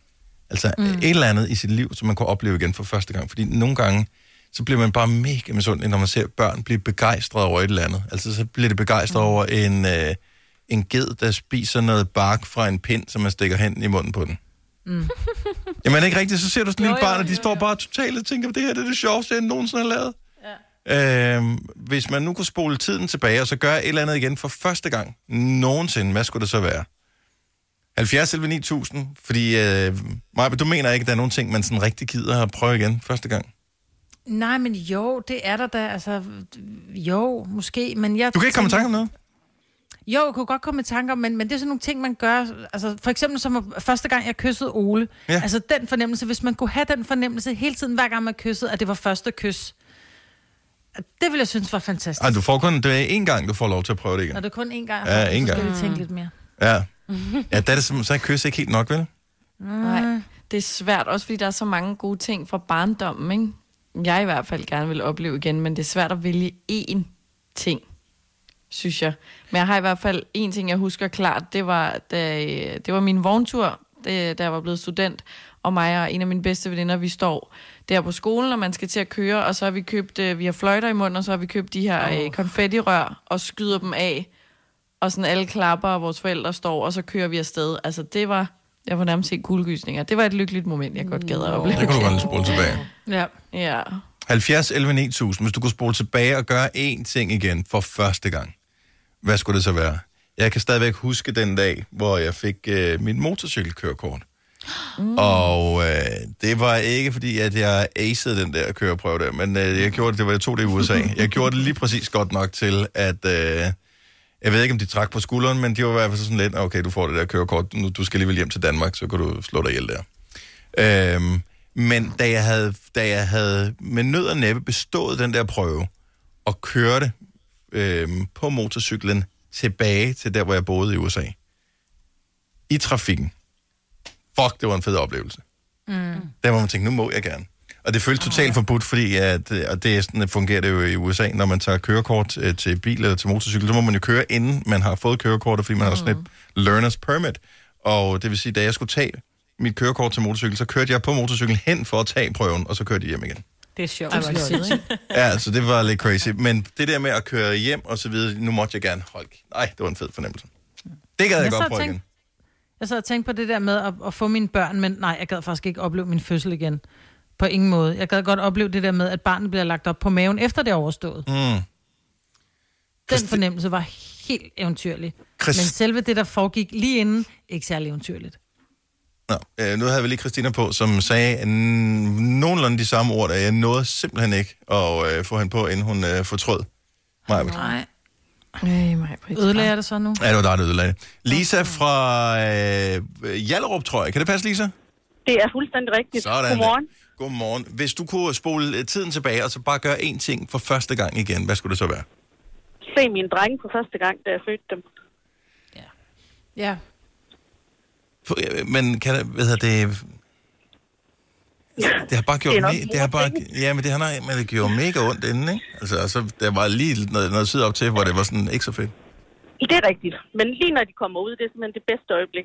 A: Altså mm. et eller andet i sit liv, som man kunne opleve igen for første gang. Fordi nogle gange, så bliver man bare mega misundelig, når man ser børn blive begejstret over et eller andet. Altså så bliver det begejstret over en, øh, en ged, der spiser noget bark fra en pind, som man stikker hen i munden på den. Jamen er det ikke rigtigt, så ser du sådan en lille
D: jo,
A: barn, og de
D: jo,
A: står bare totalt og tænker, det her det er det sjoveste, jeg nogensinde har lavet. Ja. Øhm, hvis man nu kunne spole tiden tilbage, og så gøre et eller andet igen for første gang nogensinde, hvad skulle det så være? 70 eller 9000, fordi øh, Maja, du mener ikke, at der er nogen ting, man sådan rigtig gider at prøve igen første gang?
B: Nej, men jo, det er der da. Altså, jo, måske. Men jeg
A: Du kan ikke komme i
B: tænker-
A: tanke om noget?
B: Jo, jeg kunne godt komme i tanke om, men, men det er sådan nogle ting, man gør. Altså, for eksempel som at- første gang, jeg kyssede Ole.
A: Ja.
B: Ja. Altså den fornemmelse, hvis man kunne have den fornemmelse hele tiden, hver gang man kyssede, at det var første kys. Det ville jeg synes var fantastisk.
A: Ej, du får kun, det er én gang, du får lov til at prøve det igen.
B: Når det er kun én gang,
A: Ja,
B: så
A: én
B: skal
A: gang.
B: vi tænke lidt mere.
A: Ja.
B: *laughs*
A: Ja, der er det, som- så er kys ikke helt nok, vel?
C: Nej, det er svært, også fordi der er så mange gode ting fra barndommen, ikke? Jeg i hvert fald gerne vil opleve igen, men det er svært at vælge én ting, synes jeg. Men jeg har i hvert fald en ting, jeg husker klart, det var, da, øh, det var min vogntur, det, da jeg var blevet student, og mig og en af mine bedste veninder, vi står der på skolen, og man skal til at køre, og så har vi købt, øh, vi har fløjter i munden, og så har vi købt de her oh. konfettirør og skyder dem af, og sådan alle klapper, og vores forældre står, og så kører vi afsted. Altså det var, jeg var nærmest helt kuldegysninger. Det var et lykkeligt moment, jeg godt gad at
A: Det
C: opleve.
A: kan du godt spole tilbage.
B: Ja.
C: Ja.
A: 70 11 9000, hvis du kunne spole tilbage og gøre én ting igen for første gang, hvad skulle det så være? Jeg kan stadigvæk huske den dag, hvor jeg fik øh, mit motorcykelkørekort. Mm. Og øh, det var ikke fordi, at jeg acede den der køreprøve der, men øh, jeg gjorde det, det var jeg tog det i USA. Jeg gjorde det lige præcis godt nok til, at øh, jeg ved ikke, om de trak på skulderen, men de var i hvert fald sådan lidt, okay, du får det der kørekort, nu, du skal alligevel hjem til Danmark, så kan du slå dig ihjel der. Øhm, men da jeg, havde, da jeg havde med nød og næppe bestået den der prøve, og kørte øhm, på motorcyklen tilbage til der, hvor jeg boede i USA, i trafikken. Fuck, det var en fed oplevelse.
J: Hmm.
A: Mm. Der må man tænke, nu må jeg gerne. Og det føles totalt forbudt, fordi at, øh, og det er sådan, at fungerer det jo i USA, når man tager kørekort øh, til bil eller til motorcykel, så må man jo køre, inden man har fået kørekortet, fordi man har sådan et
B: Mm.
A: learner's permit. Og det vil sige, da jeg skulle tage mit kørekort til motorcykel, så kørte jeg på motorcyklen hen for at tage prøven, og så kørte jeg hjem igen.
D: Det er sjovt.
A: Ja, så det var lidt crazy. Men det der med at køre hjem og så videre, nu måtte jeg gerne holde. Nej, det var en fed fornemmelse. Det gad jeg,
B: Jeg sad
A: godt
B: og
A: prøve
B: tænkte-
A: igen.
B: Jeg sad og tænkte på det der med at, at få mine børn, men nej, jeg gad faktisk ikke opleve min fødsel igen. På ingen måde. Jeg gad godt opleve det der med, at barnet bliver lagt op på maven, efter det er overstået. Mm. Den fornemmelse var helt eventyrlig.
A: Christ-
B: Men selve det, der foregik lige inden, ikke særlig eventyrligt.
A: Nå, øh, nu havde vi lige Christina på, som sagde mm, nogenlunde de samme ord, og jeg nåede simpelthen ikke at øh, få hende på, inden hun øh, fortrød. Nej,
B: Nej.
C: Ej, mig, Britt.
B: Ødelægger jeg det så nu?
A: ja, det var dig, der ødelagde det. Lisa fra øh, Hjallerup, tror jeg. Kan det passe, Lisa?
K: Det er fuldstændig rigtigt.
A: Sådan.
K: Godmorgen.
A: Der. Godmorgen. Hvis du kunne spole øh, tiden tilbage, og så bare gøre én ting for første gang igen, hvad skulle det så være?
K: Se mine drenge på første gang, da jeg fødte dem.
B: Ja.
A: For- øh, Men kan der, hvad hedder det... Det har bare gjort...
K: Det er nok
A: me- det har bare, ja, men det har nok, men det gjorde mega ondt inden, ikke? Altså, og så der var lige noget, noget tid op til, hvor det var sådan ikke så fedt.
K: Det er rigtigt. Men lige når de kommer ud, det er simpelthen det bedste øjeblik.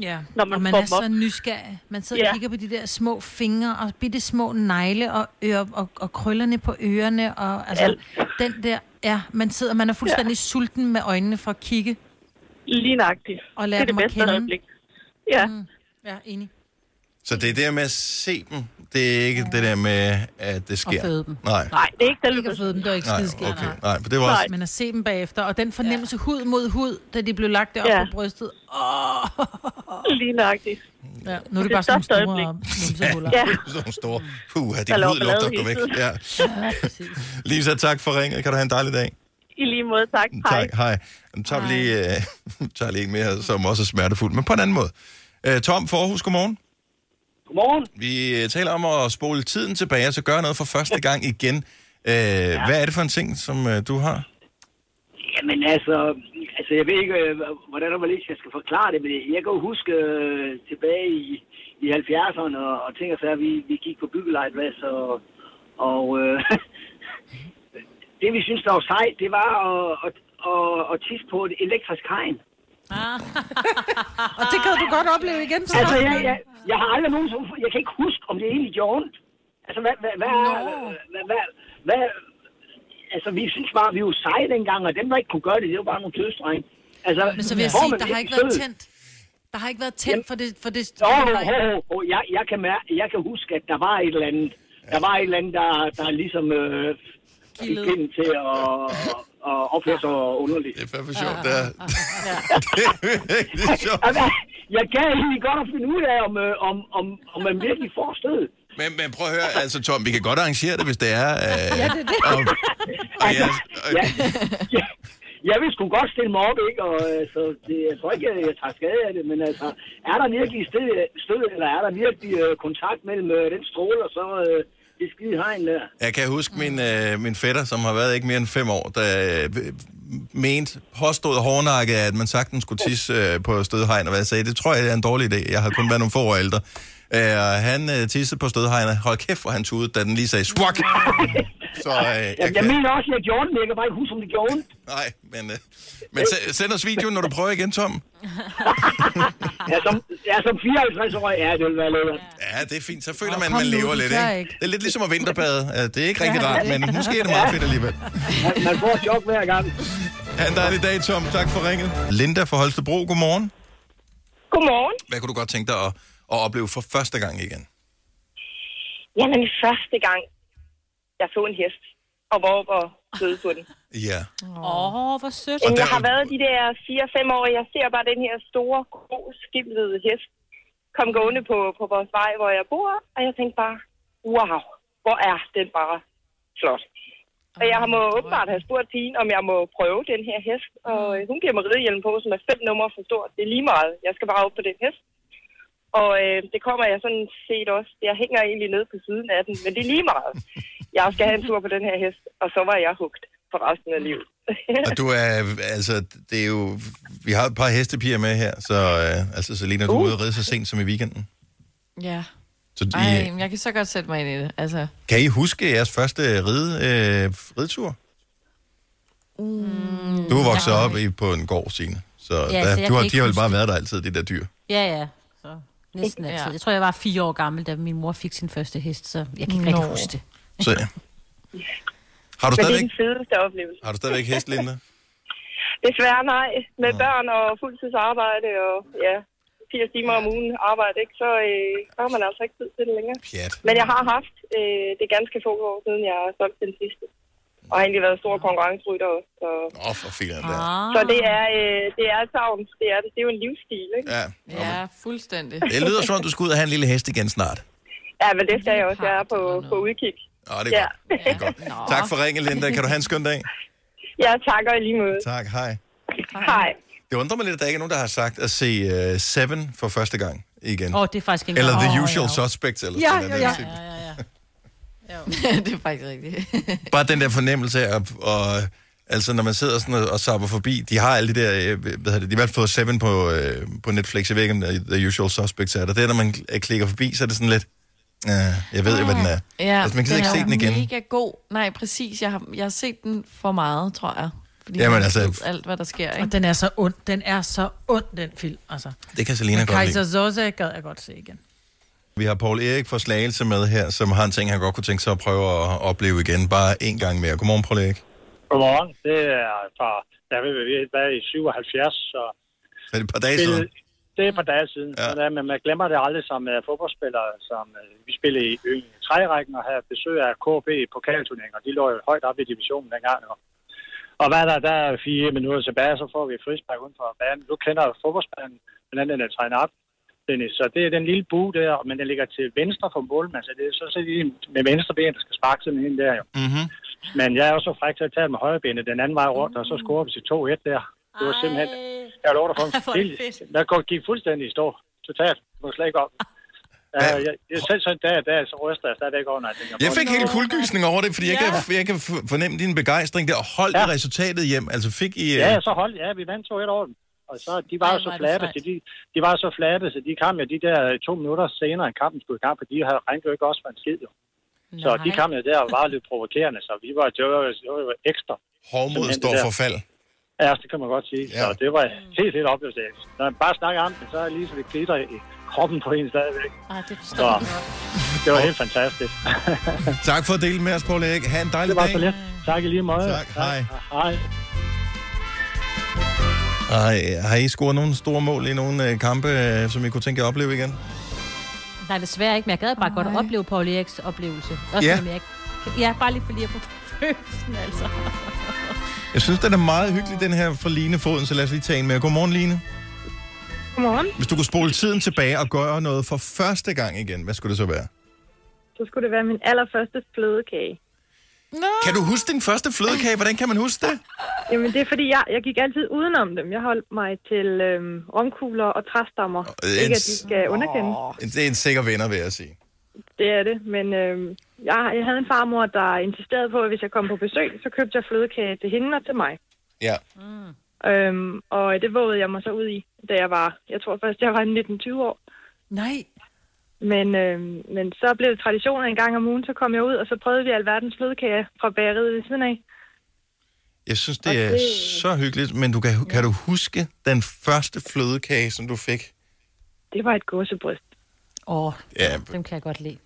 B: Ja,
K: Når
B: Når
K: man
B: man og man
K: får
B: er
K: dem op.
B: så nysgerrig. Man sidder
K: Ja.
B: og kigger på de der små fingre og bitte små negle og, ører, og, og krøllerne på ørerne. Og altså,
K: Alt.
B: den der Ja, man sidder, man er fuldstændig ja. sulten med øjnene for at kigge.
K: Lige nøjagtigt.
B: Og
K: Det
B: lære
K: er det
B: dem at
K: bedste
B: kende.
K: øjeblik. Ja.
B: Mm. Ja, enig.
A: Så det er det med at se dem. Det er ikke det der med, at det sker.
B: Og føde dem.
A: Nej.
K: Nej, det er ikke
B: Ikke at føde dem, det var ikke
A: Nej,
B: skideskært.
A: okay. Nej, for det var også-
B: Men at se dem bagefter, og den fornemmelse ja. hud mod hud, da de blev lagt deroppe
K: Ja.
B: ja. på brystet. Åh!
K: Lige nøjagtigt.
B: Ja, nu er det,
K: Det
B: bare sådan
K: største *laughs*
B: nogle
K: øjeblik.
B: store numsehuller.
K: Ja.
A: *laughs* Sådan nogle store... Puh, de
K: Der lå
A: hud lugter
K: ballade
A: gå
K: hele
A: væk.
K: tiden.
A: Ja. Lisa, tak for ringet. Kan du have en dejlig dag.
K: *laughs* I lige måde, tak. Hej.
A: Mm, Tak, hej. Nu tager vi lige, øh, *laughs* tager lige en mere, som også er smertefuld, men på en anden måde. Øh, Tom for Aarhus, godmorgen.
L: Godmorgen.
A: Vi øh, taler om at spole tiden tilbage, altså gøre noget for første gang igen. Øh, ja. Hvad er det for en ting, som øh, du har?
L: Jamen altså, altså jeg ved ikke, øh, hvordan og hvorledes jeg skal forklare det, men jeg kan jo huske øh, tilbage i, i 70'erne og, og ting og sager, vi, vi gik på byggelejtplads, og, og øh, *laughs* det vi synes, der var sejt, det var at, at, at, at tisse på et elektrisk hegn.
B: *laughs* Og det kan du godt opleve igen. Så
L: Altså, jeg, jeg, jeg har aldrig nogen, jeg kan ikke huske, om det egentlig gjorde ondt. Altså, hvad, hvad, hvad, hvad, hvad, hvad, altså, vi synes bare, vi var seje dengang, og dem, der ikke kunne gøre det, det var bare nogle tødstrenge. Altså,
B: Men så vil jeg
L: får
B: sige,
L: man
B: der har
L: lidt
B: ikke været
L: stød?
B: tændt. Der har ikke været tændt for det... For det
L: Jo, jo, jo, jo, jo. Jeg, jeg, kan mær- jeg kan huske, at der var et eller andet, der, var et eller andet, der, der ligesom øh, fik
B: Kildede.
L: pinden til at, at opføre sig underligt.
A: Det er fandme sjovt, det er. *laughs* det er sjovt.
L: Altså, Jeg gad egentlig godt at finde ud af, om, øh, om, om, om man virkelig får stød.
A: Men, men prøv at høre, altså Tom, vi kan godt arrangere det, hvis det er. Øh, ja, det er det. Og, og jeg, og,
L: Ja, ja, *laughs* jeg vil sgu godt stille mig op, ikke? Og, øh, så det, jeg tror ikke, jeg, jeg tager skade af det, men altså, er der virkelig stød, stød eller er der virkelig øh, kontakt mellem øh, den stråle og så øh, det skide hegn der?
A: Jeg kan huske min, øh, min fætter, som har været ikke mere end fem år, der øh, mente, påstod hårdnakket, at man sagtens skulle tisse øh, på stødhegn, og hvad jeg sagde, det tror jeg er en dårlig idé. Jeg har kun været nogle få år ældre. Øh, og han øh, tissede på stødhegnet. Hold kæft, hvor han tudede, da den lige sagde swak.
L: *laughs*
A: Så øh, jeg,
L: Jeg, jeg
A: kan,
L: mener også, jeg gjorde det, men jeg kan bare ikke huske, om det gjorde ondt.
A: nej, men, øh, men se- send os videoen, når du prøver igen, Tom.
L: *laughs* Ja, som, ja, som 54-årig er det, vil være lækkert.
A: Ja, det er fint. Så føler
B: Åh,
A: man,
B: kom
A: man
B: nu,
A: lever
B: du
A: lidt,
B: tør
A: ikke?
B: ikke.
A: Det er lidt ligesom at vinterbade. Øh, Det er ikke rigtig
B: Ja,
A: rart,
B: det er
A: men måske er det meget fedt alligevel.
L: Man, man får chok hver gang.
A: Ha' en dejlig dag, Tom. Tak for ringet. Linda fra Holstebro, godmorgen.
M: Godmorgen.
A: Hvad kunne du godt tænke dig at, at opleve for første gang igen?
M: Jamen, første gang, jeg så en hest, og hvor var søde på den.
A: Ja.
D: Åh, oh, hvor sødt.
M: Jamen, jeg
A: der-
M: har været de der 4-5 år, jeg ser bare den her store, grå, skimlede hest kom gående på, på vores vej, hvor jeg bor, og jeg tænkte bare, wow, hvor er den bare flot. Og jeg har må åbenbart have spurgt pigen, om jeg må prøve den her hest, og øh, hun giver mig ridehjelm på, som er fem numre for stor. Det er lige meget. Jeg skal bare op på den hest. Og øh, det kommer jeg sådan set også. Jeg hænger egentlig ned på siden af den, men det er lige meget. Jeg skal have en tur på den her hest, og så var jeg hugt for resten af livet.
A: Og du er, altså, det er jo, vi har et par hestepiger med her, så øh, altså, Selina, du
L: Uh.
A: er ude at ride så sent som i weekenden.
C: Ja.
A: Så I,
C: Ej, men jeg kan så godt sætte mig ind i det. Altså,
A: kan I huske jeres første ride, øh, ridetur? Mm, du er vokset
D: nej.
A: op i, på en gård, Signe. Så,
D: så
A: ja, der,
D: jeg
A: så
D: kan
A: du har,
D: ikke
A: de har vel
D: huske
A: bare været der altid, de der dyr.
D: Ja, ja. Så næsten altid.
C: Ja.
D: Jeg tror, jeg var fire år gammel, da min mor fik sin første hest, så jeg kan ikke
C: Nå.
D: rigtig huske det.
A: Så, ja. Har
M: *laughs* Men det er
A: du stadigvæk,
M: den fedeste oplevelse.
A: har du stadigvæk hest, Linda?
M: Desværre nej. Med børn og fuldtidsarbejde og ja, 80 timer om ugen arbejde, ikke? Så, øh, så har man altså ikke tid til det længere.
A: Pjat.
M: Men jeg har haft øh, det ganske få år siden, jeg har solgt den sidste. Og har egentlig været stor konkurrencerytter også. Så,
A: Åh, oh, for filan der.
M: så
D: Ah.
M: det er, øh, det er et savn. Det er, det er jo en livsstil, ikke?
A: Ja.
C: ja, fuldstændig.
A: Det lyder som om, du skal ud og have en lille hest igen snart.
M: Ja, men det skal jeg også. Jeg er på, på udkig.
A: Åh, det er
M: Ja.
A: godt. Det er godt. Tak for ringen, Linda. Kan du have en skøn dag?
M: *laughs* Ja, takker i lige måde.
A: Tak, hej.
M: Hej.
A: Det undrer mig lidt, at der ikke er nogen, der har sagt at se uh, Seven for første gang igen.
D: Åh, oh, det er faktisk ikke
A: Eller
D: engang-
A: The
D: Åh,
A: Usual Suspects, eller sådan noget. Ja, ja, ja.
C: *laughs* det er faktisk rigtigt. *laughs*
A: Bare den der fornemmelse af, og, altså når man sidder sådan og, og sapper forbi, de har alle de der, øh, hvad hedder det, de har i hvert fald fået Seven på, øh, på Netflix, jeg ved ikke, om The The Usual Suspects er der. Det er, når man kl- klikker forbi, så er det sådan lidt, uh, jeg ved jo, hvad den er.
C: Ah, Ja,
A: altså, man gider ikke
C: er
A: se den igen.
C: mega god. Nej, præcis. Jeg har, jeg har set den for meget, tror jeg. Fordi
A: Jamen,
C: man
A: altså-
C: ved alt, hvad der sker,
B: Og
C: ikke?
B: den er så ond. Den er så ond, den film. Altså.
A: Det kan Selina godt lide.
B: Kaiser Soze gad jeg godt se igen.
A: Vi har Paul Erik fra Slagelse med her, som har en ting, han godt kunne tænke sig at prøve at opleve igen, bare en gang mere. Godmorgen, Paul Erik.
N: Godmorgen. Det er et par, der vil vi været i 77, så...
A: Så er det et par dage siden?
N: Det er et par dage siden. Ja. Men, øh, men man glemmer det aldrig som uh, fodboldspillere, som uh, vi spillede i Yngre trærækken og havde besøg af KB i pokalturneringer. De lå jo højt op i divisionen dengang. Og, og hvad er der, der er fire minutter tilbage, så får vi et frispark uden for banen. Nu kender fodboldspilleren, hvordan den er trænet op. Dennis. Så det er den lille bue der, men den ligger til venstre for målmanden, så det er sådan set lige med venstre ben, der skal sparke sådan en der jo.
A: Mm-hmm.
N: Men jeg er også så fræk til at tage den med højre benet den anden vej rundt, og så scorer vi til 2-1 der. Det var simpelthen... Jeg lover dig
H: Mm. Ej, *laughs* hvor
N: for
H: er
N: mig.
H: det fedt.
N: Der går- gik fuldstændig i stå. Totalt. Det var slet ikke op. Uh, jeg, jeg, selv sådan en dag, der, så ryster jeg stadigvæk over, når jeg tænker på
A: Jeg
N: det.
A: fik helt kuldgysning over det, fordi jeg, kan, jeg kan f- fornemme din begejstring der. Hold ja. resultatet hjem. Altså fik I... øh,
N: Ja, så holdt, ja, vi vandt 2-1 over dem. Og så, de var jo så
H: hvor er det
N: flabbe,
H: sejt.
N: så de, de var så flabbe, så de kom jo de der øh, to minutter senere, end kampen skulle i gang, for de havde regnet jo ikke også for en skid, jo. Så de kom jo der og var lidt provokerende, så vi var, det var, jo- det var jo ekstra.
A: Hårdmod
N: Simpelthen
A: står
N: det der.
A: for fald.
N: Ja, det kan man godt sige. Ja. Så det var helt, helt oplevelse. Når man bare snakker om det, så er det lige så det glitter i kroppen på en stadigvæk.
D: Ej, det
N: Så det var helt fantastisk.
A: Tak for at dele med os, Paul Erik. Ha' en dejlig
N: Det var
A: dag.
N: så lidt. Tak i lige måde.
A: Tak, hej.
N: Hej.
A: Ej, har I scoret nogle store mål i nogle øh, kampe, øh, som I kunne tænke jer at opleve igen?
D: Nej, desværre ikke, men jeg gad bare godt at opleve Paul Eriks oplevelse. Også
A: Ja.
D: ja. Jeg ikke... ja, bare lige for lige at få *laughs* følelsen, altså.
A: Jeg synes, den er meget hyggelig, den her fra Line Foden, så lad os lige tage en med. Godmorgen, Line.
O: Godmorgen.
A: Hvis du kunne spole tiden tilbage og gøre noget for første gang igen, hvad skulle det så være?
O: Så skulle det være min allerførste flødekage. Nå.
A: Kan du huske din første flødekage? Hvordan kan man huske det?
O: Jamen, det er fordi, jeg, jeg gik altid udenom dem. Jeg holdt mig til øhm, romkugler og træstammer.
A: Øh,
O: Ikke,
A: en-
O: at de skal underkende.
A: Det er en sikker vinder, vil jeg sige.
O: Det er det, men øhm, jeg, jeg havde en farmor, der insisterede på, at hvis jeg kom på besøg, så købte jeg flødekage til hende og til mig.
A: Ja.
J: Hmm.
O: Øhm, og det vågede jeg mig så ud i, da jeg var, jeg tror først, jeg var 19-20 år.
B: Nej.
O: Men, øhm, men så blev det tradition, at en gang om ugen, så kom jeg ud, og så prøvede vi alverdens flødekager fra bageriet ved siden af.
A: Jeg synes, det er så hyggeligt, men du kan, kan du huske den første flødekage, som du fik?
O: Det var et gåsebryst.
D: Åh,
A: Ja,
D: dem kan jeg godt lide.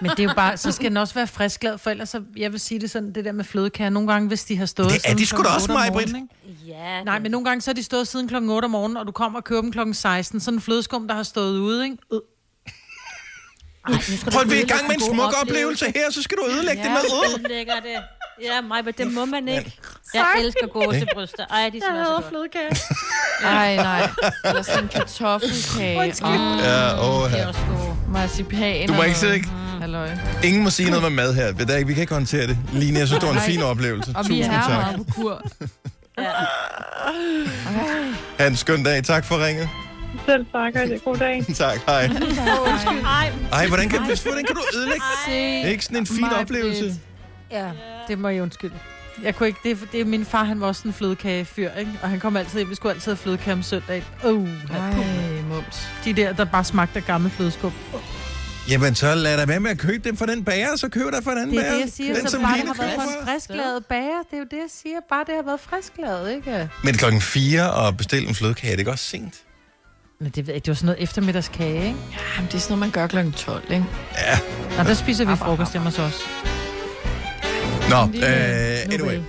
B: Men det er jo bare, så skal den også være frisklavet, for ellers, så, jeg vil sige det sådan, det der med flødekager, nogle gange, hvis de har stået...
A: Det er
B: siden
A: de sgu
B: klokken
A: da
B: otte
A: også,
B: om
A: Maj-Brit.
B: morgenen,
D: Ja.
B: Nej, men nogle gange, så har de stået siden klokken 8 om morgenen, og du kommer og køber dem klokken 16. Sådan en flødeskum, der har stået ude, ikke? Øh. Ej,
A: Prøv at vi er i gang med en smuk oplevelse her, så skal du ødelægge det med øl.
D: ødelægger det. Ja, mig, men det må man ikke. Jeg elsker gåsebryster. Ej, de smager så godt.
C: flødekage.
D: Ej, nej.
C: Eller sådan en kartoffelkage.
D: Undskyld.
A: Ja, åh,
C: Det er også god. Marcipan.
A: Du må
C: og-
A: ikke sidde, ikke?
C: Halløj.
A: Ingen må sige noget med mad her. Det er ikke- Vi kan ikke håndtere det. Line, jeg synes, det var en
C: Nej.
A: fin oplevelse.
C: Og vi
A: Tusind
C: er
A: tak.
C: meget på kur.
A: Ha' en skøn dag. Tak for ringet.
O: Selv tak, og det er god dag.
A: *laughs* tak, hej.
P: *laughs*
D: Undskyld. Ej,
A: Ej, hvordan kan, hvordan kan du ødelægge?
B: Det
A: er ikke sådan en fin oplevelse.
B: Ja, det må jeg undskylde. Jeg kunne ikke, det, er- det er min far, han var også sådan en flødekagefyr, ikke? Og han kom altid hjem, vi skulle altid have flødekage om søndag. Oh, Ej, mums. De der, der bare smagte af gammel flødeskum.
A: Jamen, så lad dig være med at købe den fra den bager, så køb dig fra den anden
B: Det er
A: bager.
B: det, jeg siger,
A: den,
B: så
A: som
B: bare det
A: Line
B: har været
A: køber.
B: for en frisklavet bager. Det er jo det, jeg siger. Bare det har været frisklavet, ikke?
A: Men klokken 4 og bestille en flødekage, det er ikke også sent.
B: Men det ved jeg, ikke, det var sådan noget eftermiddagskage, ikke? Jamen, det er sådan noget, man gør klokken 12, ikke?
A: Ja.
B: Nå, der spiser vi frokost hjemme hos os.
A: Nå,
B: Lille
A: øh, anyway.
B: Nobel.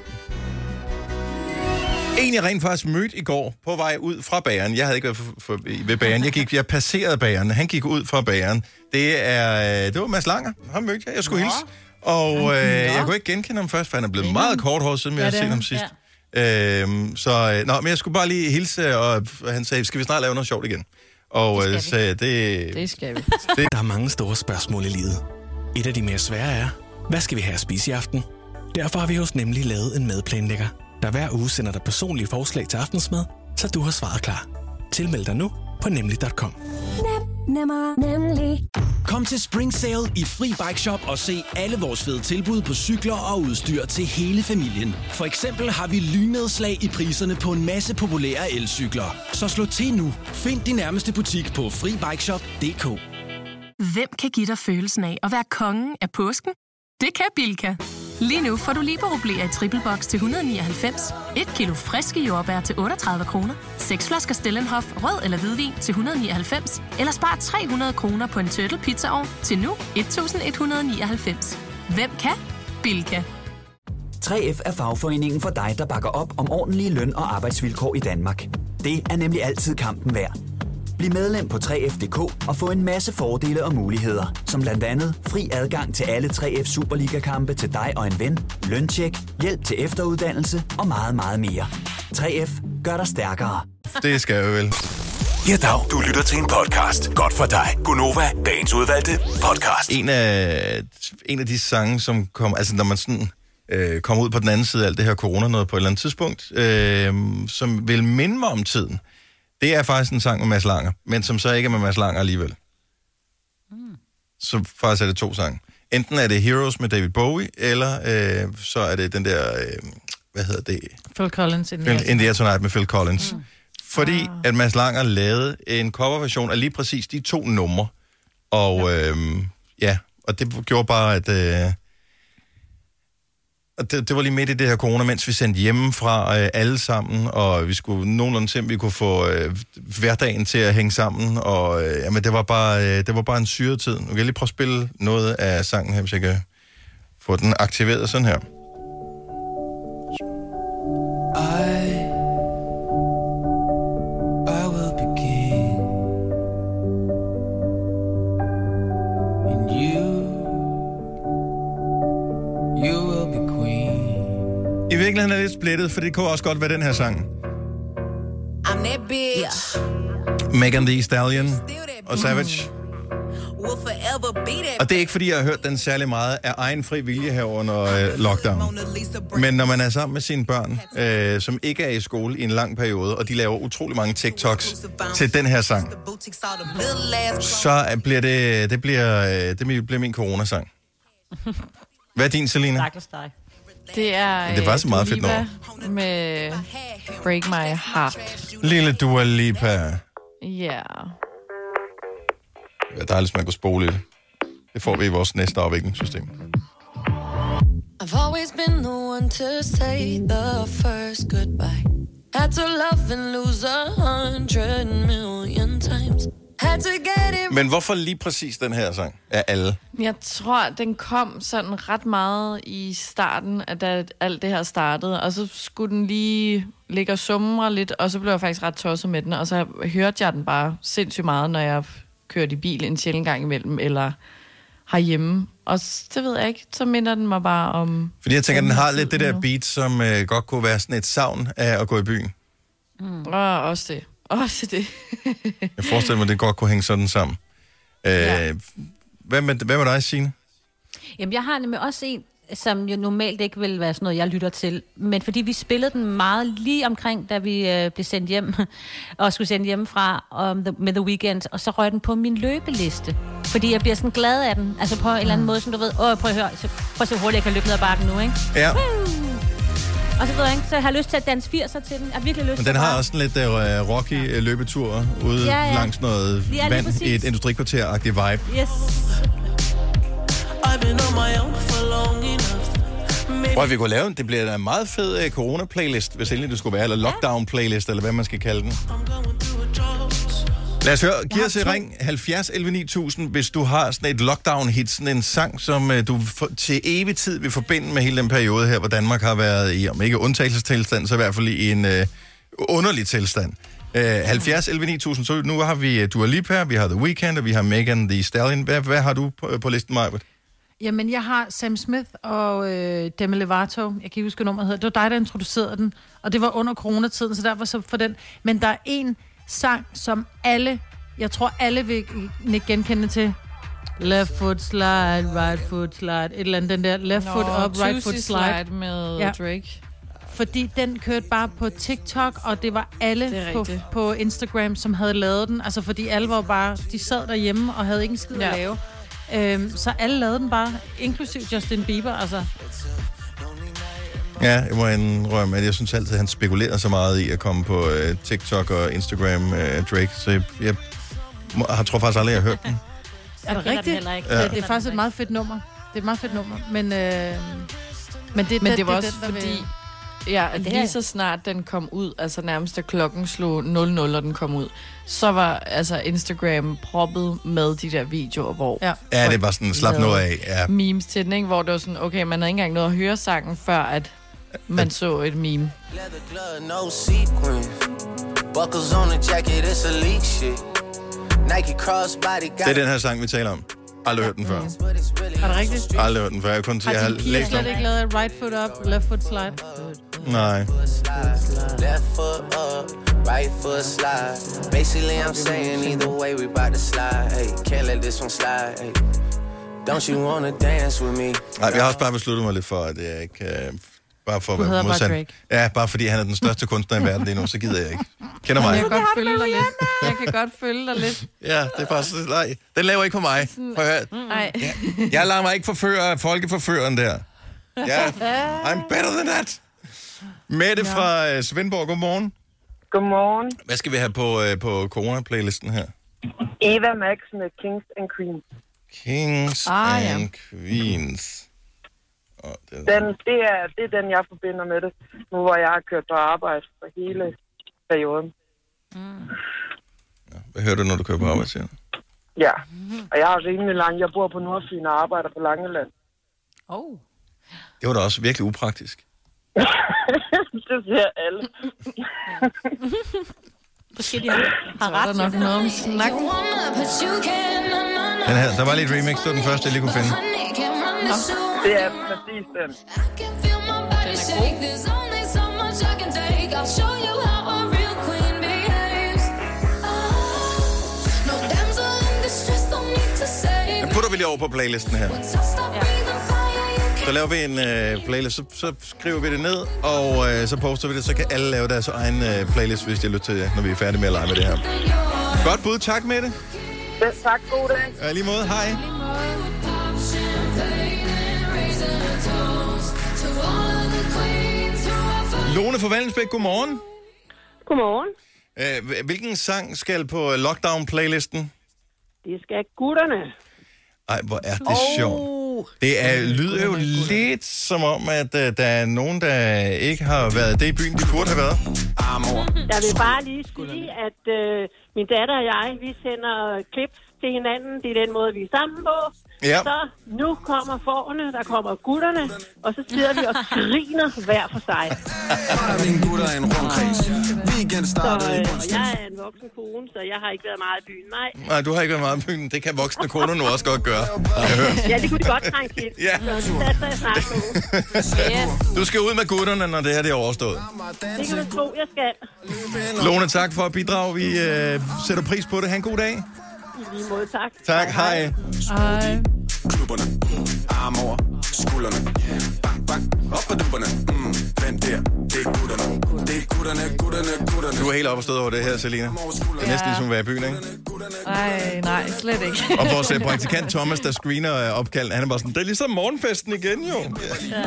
A: En, jeg rent faktisk mødte i går på vej ud fra bageren. Jeg havde ikke været for, for, ved bageren. Jeg, gik, jeg passerede bageren. Han gik ud fra bageren. Det, er, øh, det var Mads Langer. Ham mødte jeg. Jeg skulle hilse. Og øh, jeg kunne ikke genkende ham først, for han er blevet meget korthåret, siden
H: Ja,
A: jeg har
H: det er
A: set ham
H: han.
A: sidst. Øhm, så, øh, nå, men jeg skulle bare lige hilse, og han sagde, skal vi snart lave noget sjovt igen? Og øh, så det,
C: Øhm, Det skal vi.
A: Det...
Q: Der er mange store spørgsmål i livet. Et af de mere svære er, hvad skal vi have at spise i aften? Derfor har vi hos Nemlig lavet en madplanlægger, der hver uge sender dig personlige forslag til aftensmad, så du har svaret klar. Tilmeld dig nu på nemlig.com.
R: Nemmer, nemlig.
S: Kom til Spring Sale i Fri Bike Shop og se alle vores fede tilbud på cykler og udstyr til hele familien. For eksempel har vi lynedslag i priserne på en masse populære elcykler. Så slå til nu. Find din nærmeste butik på FriBikeShop.dk
T: Hvem kan give dig følelsen af at være kongen af påsken? Det kan Bilka! Lige nu får du liberobleer i triple box til 199, et kilo friske jordbær til 38 kroner, seks flasker Stellenhof rød eller hvidvin til 199, eller spar 300 kroner på en turtle pizzaovn til nu 1199. Hvem kan? Bilka!
U: 3F er fagforeningen for dig, der bakker op om ordentlige løn- og arbejdsvilkår i Danmark. Det er nemlig altid kampen værd. Bliv medlem på 3F.dk og få en masse fordele og muligheder, som blandt andet fri adgang til alle 3F Superliga-kampe til dig og en ven, løntjek, hjælp til efteruddannelse og meget, meget mere. 3F gør dig stærkere.
A: Det skal jeg vel.
F: Ja, dag. Du lytter til en podcast. Godt for dig. Gunova, dagens udvalgte podcast.
A: En af, en af de sange, som kom... Altså, når man sådan øh, kommer ud på den anden side af alt det her corona noget på et eller andet tidspunkt, øh, som vil minde mig om tiden, det er faktisk en sang med Mads Langer, men som så ikke er med Mads Langer alligevel. Mm. Så faktisk er det to sange. Enten er det Heroes med David Bowie, eller øh, så er det den der... Øh, hvad hedder det?
B: Phil Collins in the
A: Phil, In The Air Tonight med Phil Collins. Mm. Fordi at Mads Langer lavede en coverversion af lige præcis de to numre. Og ja, øhm, ja og det gjorde bare, at... Øh, og det, det var lige midt i det her corona, mens vi sendte hjemmefra øh, alle sammen, og vi skulle nogenlunde til, at vi kunne få øh, hverdagen til at hænge sammen, og øh, jamen, det, var bare, øh, det var bare en syretid. Nu kan jeg lige prøve at spille noget af sangen her, hvis jeg kan få den aktiveret sådan her.
H: I I will begin and you you will be queen.
A: I virkeligheden er det lidt splittet, for det kunne også godt være den her sang.
J: I'm that bitch.
A: Megan Thee Stallion og Savage.
J: Will forever be that
A: Og det er ikke, fordi jeg har hørt den særlig meget af egen fri vilje her under øh, lockdown. Men når man er sammen med sine børn, øh, som ikke er i skole i en lang periode, og de laver utrolig mange TikToks til den her sang,
J: boutiques all the little ass.
A: så øh, bliver det, det, bliver, øh, det bliver min coronasang. Hvad er din, Selina?
D: Stakkels dig.
C: Det er,
A: Det er faktisk
C: øh,
A: meget
C: Dua
A: fedt nummer.
C: Lipa med Break My Heart.
A: Lille Dua Lipa.
C: Ja. Yeah.
A: Det er dejligt, hvis man kunne spole lidt. Det får vi i vores næste afviklingssystem.
V: I've always been the one to say the first goodbye. Had to love and lose a hundred million times. Had to get it
A: Men hvorfor lige præcis den her sang af alle?
C: Jeg tror, den kom sådan ret meget i starten, at da alt det her startede. Og så skulle den lige ligge og sumre lidt, og så blev jeg faktisk ret tosset med den. Og så hørte jeg den bare sindssygt meget, når jeg kørte i bil en sjældent gang imellem, eller herhjemme. Og s- det ved jeg ikke, så minder den mig bare om...
A: Fordi jeg tænker, den har lidt det der beat, som øh, godt kunne være sådan et savn af at gå i byen.
C: Mm. Og også det. Også det.
A: Jeg forestiller mig, det godt kunne hænge sådan sammen. Øh, ja. hvad, med, hvad med dig, Signe?
D: Jamen, jeg har nemlig også en, som jo normalt ikke vil være sådan noget, jeg lytter til. Men fordi vi spillede den meget lige omkring, da vi øh, blev sendt hjem, *laughs* og skulle sende hjemmefra um, the, med The Weekend, og så røg den på min løbeliste. Fordi jeg bliver sådan glad af den. Altså på en eller
A: Mm.
D: anden måde, som du ved, åh, prøv at høre, så, prøv at se, hvor hurtigt jeg kan løbe ned ad bakken nu, ikke?
A: Ja.
D: Woo! Og så ved jeg ikke, så jeg har lyst til at danse 80'er til den. Jeg har virkelig lyst til
A: Men den
D: at
A: har
D: bare-
A: også sådan lidt øh, rocky øh, løbetur ude
D: Ja,
A: ja,
D: ja.
A: ja. langs noget
D: Ja, lige
A: vand i
D: præcis.
A: et industrikvarter-agtigt vibe.
D: Yes.
V: I've been on my own for long enough. *laughs*
A: Prøv, vi kunne lave en, det bliver da en meget fed øh, corona-playlist, hvis endelig det skulle være, eller lockdown-playlist, eller hvad man skal kalde den. Lad os høre, giv os et ring 70 11 9000, hvis du har sådan et lockdown-hit, sådan en sang, som øh, du for, til evig tid vil forbinde med hele den periode her, hvor Danmark har været i, om ikke undtagelsestilstand, så i hvert fald i en øh, underlig tilstand. Øh, 70 11 9000, så nu har vi øh, Dua Lipa, vi har The Weeknd, og vi har Megan Thee Stallion. Hvad, hvad har du på, øh, på listen, Majbert?
B: Jamen, jeg har Sam Smith og øh, Demi Lovato. Jeg kan ikke huske, hvad nummeret hedder. Det var dig, der introducerede den. Og det var under coronatiden, så der var så for den. Men der er en sang, som alle, jeg tror alle vil ikke genkende til. Left foot slide, right foot slide. Et eller andet, den der left
C: Nå,
B: foot up, right foot
C: Tusi
B: slide.
C: Slide med Drake.
B: Fordi den kørte bare på TikTok, og det var
C: Det
B: alle
C: er
B: på,
C: rigtigt.
B: på Instagram, som havde lavet den. Altså fordi alle var bare, de sad derhjemme og havde ingen skid ja. at lave. Øhm, så alle lavede den bare, inklusiv Justin Bieber. Altså,
A: Ja, jeg må indrømme, at jeg synes altid, at han spekulerer så meget i at komme på øh, TikTok og Instagram, øh, Drake, så jeg, jeg må, har, tror faktisk aldrig, jeg har hørt den.
B: er
D: kender
B: det
D: den
B: rigtigt?
D: heller ikke.
A: Ja.
B: Ja. Det er faktisk et meget fedt nummer. øhm, Det er et meget fedt nummer, men... Øh, men det,
C: Men
B: den-
C: det var
B: er
C: også
B: den, der vil-
C: fordi, Ja,
D: det har
C: lige
D: jeg.
C: så snart den kom ud, altså nærmest da klokken slog 00, og den kom ud, så var altså Instagram proppet med de der videoer, hvor... Ja,
A: Ja, det er bare sådan, slap nu af. Ja.
C: Memes til den, ikke? Hvor det var sådan, okay, man havde ikke engang noget at høre sangen, før at man så et meme.
E: no sequins. Buckles on the jacket, it's elite shit. Nike crossbody got
A: Det er den her sang, vi taler om. Aldrig hørt den før.
B: Er det rigtigt?
A: Aldrig hørt den før. Jeg, kun, jeg har
B: Har de piger
A: læst
B: slet
A: om.
B: ikke lavet et right foot up, left foot slide?
A: Nej.
E: Left foot up, right foot slide. Basically, I'm saying either way, we bout to slide. Hey, can't let this one slide. Hey, don't you wanna dance with me?
A: Nej, jeg har også bare besluttet mig lidt for, at jeg ikke... Øh, bare for at
E: Du
A: være
E: hedder bare
A: modsat.
E: Drake.
A: Ja, bare fordi han er den største kunstner i verden lige nu, så gider jeg ikke. Kender mig.
C: Jeg kan godt følge dig lidt. Jeg kan godt følge dig lidt.
A: Ja, det er bare sådan, nej, den laver ikke på mig. Prøv at høre.
C: Nej.
A: Jeg lader mig ikke forføre af folkeforføreren der. Ja, I'm better than that. Mette ja. fra øh, Svendborg, godmorgen.
W: Godmorgen.
A: Hvad skal vi have på, øh, på corona-playlisten her?
W: Eva Max med Kings and Queens.
A: Kings
W: Ah,
A: ah,
W: ja.
A: and Queens. Og den,
W: Den, det, er, det er den, jeg forbinder med det, nu hvor jeg har kørt på arbejde for hele perioden.
A: hvad hører du, når du kører på arbejde? Siger?
W: Ja, og jeg er rimelig lang. Jeg bor på Nordfyn og arbejder på Langeland.
D: Oh.
A: Det var da også virkelig upraktisk.
W: det siger
A: *laughs*
W: alle.
D: Måske de har, har ret.
C: Der er nok noget om snakken.
A: Den her, der var lidt remix, det var den første, jeg lige kunne finde.
W: Det er præcis
L: øh.
W: den.
C: er
V: Ah,
A: Den putter vi lige over på playlisten her. Så laver vi en øh, playlist, så, så skriver vi det ned, og øh, så poster vi det, så kan alle lave deres egen øh, playlist, hvis de har lyst til det, når vi er færdige med at lege med det her. Godt bud, tak med det.
W: Selv tak, god dag.
A: Ja, i lige måde, hej. Lone fra Vallensbæk, godmorgen.
P: Godmorgen.
A: Øh, hv- hvilken sang skal på øh, lockdown-playlisten?
P: Det skal gutterne.
A: Ej, hvor er det oh. sjovt. Det er, lyder jo lidt som om, at uh, der er nogen, der ikke har været det i byen, de burde have været.
X: Ah,
A: Armor.
P: Jeg vil bare lige sige, at øh, min datter og jeg, vi sender klips til hinanden. Det er den måde, vi er sammen på.
A: Ja.
P: Så nu kommer forerne, der kommer gutterne, og så sidder vi og griner hver for sig.
X: Mine gutter i en rundkreds. Weekend startede i
P: Og
X: onsdag.
P: øh, jeg er en voksen kone, så jeg har ikke været meget i byen. Nej,
A: Nej, du har ikke været meget i byen. Det kan voksne koner nu også godt gøre. har jeg hørt.
P: ja, det kunne de godt trænge til.
A: Ja.
P: Så det satser jeg snart på.
A: Du skal ud med gutterne, når det her det er overstået.
P: Det kan du tro, jeg skal.
A: Lone, tak for at bidrage. Vi øh, sætter pris på det. Ha' en god dag.
P: I lige måde, tak.
A: Tak, hej.
P: Hej.
X: Klubberne. Arm over skuldrene. Bang, bang. Op på dupperne. Mm. Hvem der? Det er gutterne. Det er gutterne, gutterne, gutterne.
A: Du er helt op og stået over det her, Selina. Det er næsten ligesom at være i byen, ikke?
C: Nej, nej, slet ikke.
A: Og vores øh, praktikant Thomas, der screener øh, opkaldet, han er bare sådan, det er ligesom morgenfesten igen, jo.
X: Vi er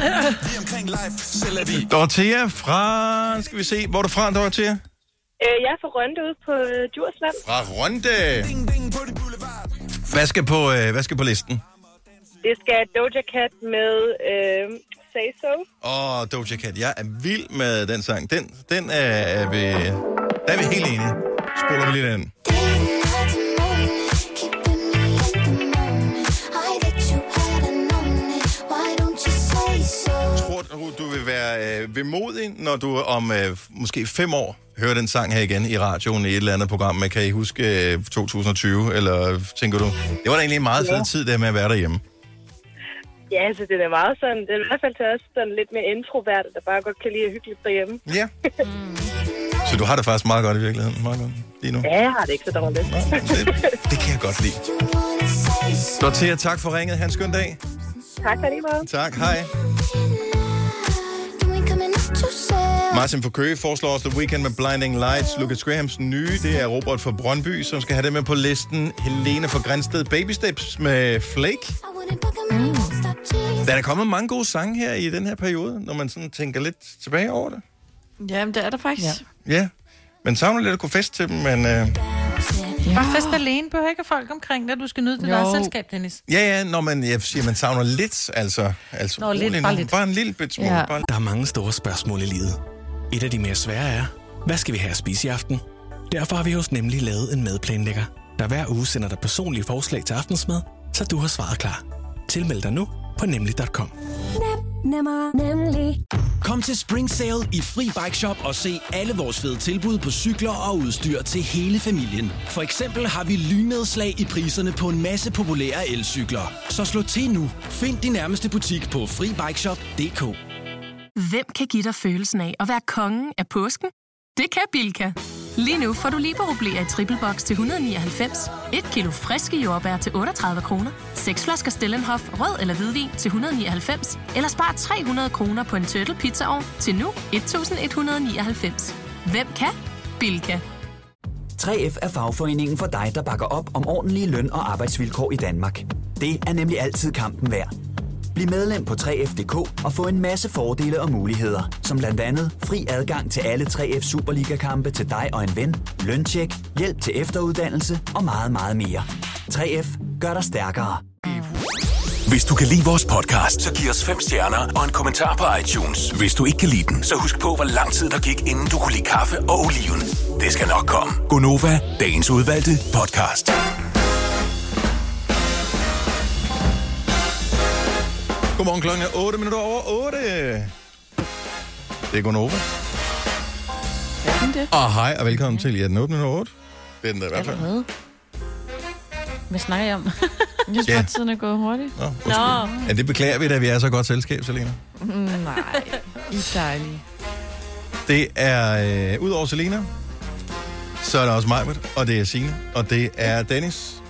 X: omkring live. Selv er vi.
A: Dorothea fra... nu Skal vi se, hvor er du fra, Dorothea?
P: Øh, jeg er fra Rønte ude på øh, Djursland.
A: Fra Ronde. Hvad skal på, øh, hvad skal på listen?
P: Det skal Doja Cat med øh, Say So.
A: Åh, oh, Doja Cat, jeg er vild med den sang. Den, den er, er vi... Der er vi helt enige. Spoler vi lige den. Tror du, du vil være øh, vemodig, når du om øh, måske fem år hører den sang her igen i radioen i et eller andet program? Men kan I huske øh, 2020? Eller tænker du, det var da egentlig en meget fed
P: Ja.
A: tid, der med at være derhjemme.
P: Ja, altså, den er meget sådan, den er i hvert fald til os sådan lidt mere introverte, der bare godt kan lide at hygge lidt derhjemme.
A: Ja. Så du har det faktisk meget godt i virkeligheden, meget godt lige nu.
P: ja, jeg har det ikke så dårligt.
A: Det kan jeg godt lide. Dorothea, tak for ringet. Hans skøn dag.
P: tak for lige meget.
A: Tak, hej. Martin fra Køge foreslår os The Weekend med Blinding Lights. Lucas Grahams nye, det er Robert fra Brøndby, som skal have det med på listen. Helene fra Grænsted Baby Steps med Flake. Der er kommet mange gode sange her i den her periode, når man sådan tænker lidt tilbage over det.
C: Jamen, det er der faktisk. Ja.
A: Ja, man savner lidt at kunne feste til dem, men øh,
B: Ja. Bare fest alene, behøver ikke have folk omkring dig. Du skal nyde dit
A: Jo.
B: eget selskab, Dennis.
A: Ja, ja, når man, jeg siger, man savner lidt, altså. altså
B: Nå, lidt,
A: rolig nu.
B: bare lidt.
A: Bare en lille bit smule. Ja. Bare
Q: Der er mange store spørgsmål i livet. Et af de mere svære er, hvad skal vi have at spise i aften? Derfor har vi hos Nemlig lavet en madplanlægger, der hver uge sender dig personlige forslag til aftensmad, så du har svaret klar. Tilmeld dig nu på nemlig.com.
R: Nemmer, nemlig.
S: Kom til Spring Sale i Fri Bike Shop og se alle vores fede tilbud på cykler og udstyr til hele familien. For eksempel har vi lynedslag i priserne på en masse populære elcykler. Så slå til nu. Find din nærmeste butik på FriBikeShop.dk
T: Hvem kan give dig følelsen af at være kongen af påsken? Det kan Bilka! Lige nu får du liberobleer i triple box til 199, et kilo friske jordbær til 38 kroner, seks flasker Stellenhof rød eller hvidvin til 199, eller spar 300 kroner på en turtle pizzaovn til nu 1199. Hvem kan? Bilka!
U: 3F er fagforeningen for dig, der bakker op om ordentlige løn- og arbejdsvilkår i Danmark. Det er nemlig altid kampen værd. Bliv medlem på 3F.dk og få en masse fordele og muligheder, som blandt andet fri adgang til alle 3F Superliga-kampe til dig og en ven, løntjek, hjælp til efteruddannelse og meget, meget mere. 3F gør dig stærkere.
F: Hvis du kan lide vores podcast, så giv os fem stjerner og en kommentar på iTunes. Hvis du ikke kan lide den, så husk på, hvor lang tid der gik, inden du kunne lide kaffe og oliven. Det skal nok komme.
S: Gonova,
F: Dagens udvalgte podcast.
A: Godmorgen klokken er 8 minutter over 8. Det er Gunova. Og hej, og velkommen til. Ja, den åbner nu 8. Det er den der i hvert fald.
D: Hvad? Hvad snakker jeg om? *laughs*
C: Jeg
A: Ja.
C: synes, at tiden er gået hurtigt.
A: Nå, undskyld. Ja, det beklager vi, da vi er så godt selskab, Selena.
C: Mm, Nej, I er dejlige.
A: Det er, øh, udover Selena, så er der også Majbert, og det er Signe, og det er Dennis.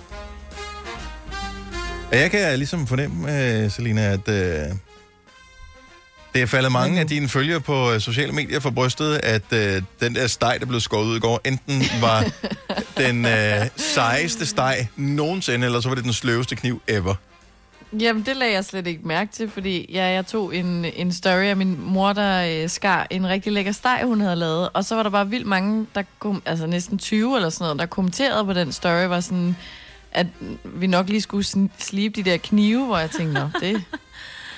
A: Og jeg kan ligesom fornemme, øh, Selena, at øh, det er faldet mange af dine følgere på øh, sociale medier for brystet, at øh, den der steg, der blev skåret ud i går, enten var den øh, sejeste steg nogensinde, eller så var det den sløveste kniv ever.
C: Jamen, det lagde jeg slet ikke mærke til, fordi ja, jeg tog en, en story af min mor, der øh, skar en rigtig lækker steg, hun havde lavet. Og så var der bare vildt mange, der kom, altså næsten 20 eller sådan noget, der kommenterede på den story, var sådan, at vi nok lige skulle sn- slibe de der knive, hvor jeg tænkte,
A: *laughs*
C: nå, det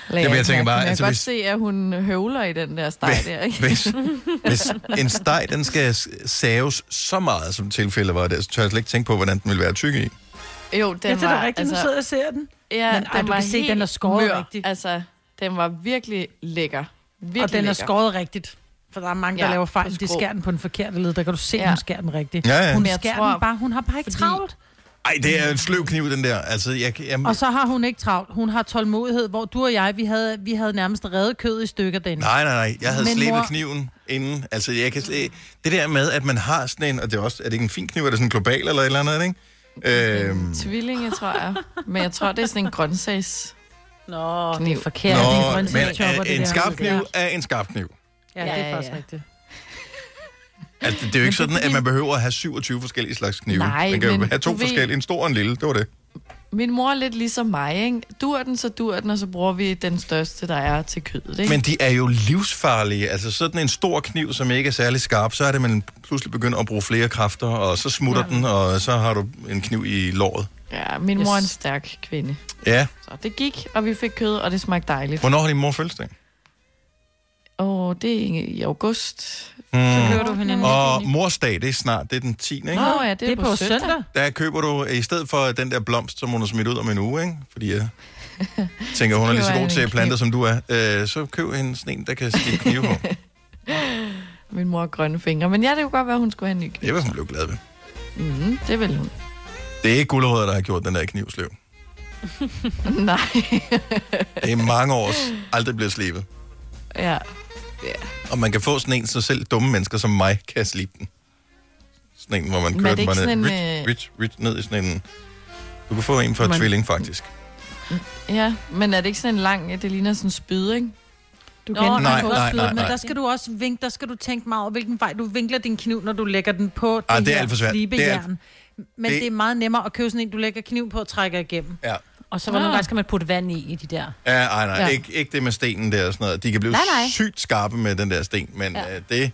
C: lagde
A: jeg
C: ikke mærke til.
A: tænker bare,
C: Men jeg
A: altså,
C: kan godt
A: hvis-
C: se, at hun høvler i den der steg
A: Hvis-
C: der, ikke?
A: hvis- Hvis
C: *laughs*
A: en steg, den skal s- saves så meget, som tilfældet var, der, så tør jeg slet ikke tænke på, hvordan den ville være tyk i.
C: Jo, den
B: Ja, det er da
C: var... altså-
B: rigtigt. Nu sidder jeg og ser altså- den.
C: Ja,
B: Men,
C: den
B: ej, du
C: var
B: kan se,
C: helt
B: den er skåret
C: mør.
B: rigtigt.
C: Altså, den var virkelig lækker. Virkelig
B: og den er
C: lækker.
B: skåret rigtigt. For der er mange, der
C: Ja,
B: ja, laver
C: på
B: fejl. De
C: skrå.
B: skærer den på den forkerte led. Der kan du se, ja.
C: Ja.
B: hun skærer den rigtigt.
A: Ja, ja.
B: Hun
A: Men jeg
B: skærer
A: tror-
B: den bare. Hun har bare ikke fordi... travlt.
A: Ej, det er en sløv kniv, den der. Altså, jeg, jeg,
B: Og så har hun ikke travlt. Hun har tålmodighed, hvor du og jeg, vi havde, vi havde nærmest reddet kødet i stykker, den.
A: Nej, nej, nej. Jeg havde
B: Men
A: slæbet
B: mor-
A: kniven inden. Altså, jeg kan slæ... Det der med, at man har sådan en, og det er også, er det ikke en fin kniv, er det sådan en global eller et eller andet, ikke? Øhm,
C: Tvillinge, tror jeg. Men jeg tror, det er sådan en grøntsags...
B: Nå,
C: kniv. det er
B: forkert.
A: nå, men øh, en skarp kniv er en skarp kniv.
B: Ja, det er faktisk rigtigt.
A: Altså, det er jo ikke sådan, at man behøver at have 27 forskellige slags knive.
C: Nej,
A: man kan jo
C: men
A: have to
C: du ved-
A: forskellige, en stor og en lille, det var det.
C: Min mor er lidt ligesom mig, ikke? Dur den, så dur den, og så bruger vi den største, der er til kødet, ikke?
A: Men de er jo livsfarlige. Altså sådan en stor kniv, som ikke er særlig skarp, så er det, man pludselig begynder at bruge flere kræfter, og så smutter ja. den, og så har du en kniv i låret.
C: Ja, min mor er en stærk kvinde.
A: Ja.
C: Så det gik, og vi fik kød, og det smagte dejligt.
A: Hvornår har din mor fødselsdag?
C: Og det er i august.
A: Mm.
C: køber du hende en
A: Og morsdag, det er snart, det er den 10. Ikke?
C: Nå, ja, det er, det er på, på søndag. søndag.
A: Der køber du, øh, i stedet for den der blomst, som hun har smidt ud om en uge, ikke?
C: *laughs*
A: fordi jeg tænker, hun er lige så
C: Køber
A: god
C: en
A: til at
C: kniv.
A: plante, som du er, øh, så køb hende sådan en, der kan stikke knive på.
C: *laughs* Min mor har grønne fingre. Men ja, det kunne godt være, hun skulle have en ny kniv.
A: Det vil hun blive glad ved.
C: Mm, det vil hun.
A: Det er ikke gulerødder, der har gjort den der knivsløv.
C: Nej,
A: Det er mange års aldrig blevet slebet.
C: ja.
A: Og man kan få sådan en, så selv dumme mennesker som mig kan slibe den. Sådan en, hvor man
C: Men er
A: kører
C: det
A: den bare
C: ikke
A: ned,
C: sådan en,
A: rit, rit, rit, ned i sådan en... Du kan få en for
C: Man-
A: tvilling, faktisk.
C: Ja, men er det ikke sådan en lang... Det ligner sådan en spyd, ikke?
B: Du
A: kan-
B: Nå,
A: Nej,
B: nej, kan
A: nej,
B: nej,
A: nej,
B: nej,
A: nej.
B: Men der skal du også vink, der skal du tænke meget over, hvilken vej du vinkler din kniv, når du lægger den på det,
A: Ah, det er
B: her
A: alt for svært.
B: slibejern.
A: Det er alt-
B: Men
A: det-
B: det... det... er meget nemmere at købe sådan en, du lægger kniv på og trækker igennem.
A: Ja.
D: Og så var
B: Ah.
D: nogle gange, skal man putte vand i, i de der.
A: Ja, ej, nej,
D: Ja.
A: Ikke, ikke det med stenen der og sådan noget. De kan blive
D: Nej, nej.
A: sygt skarpe med den der sten, men ja. øh, det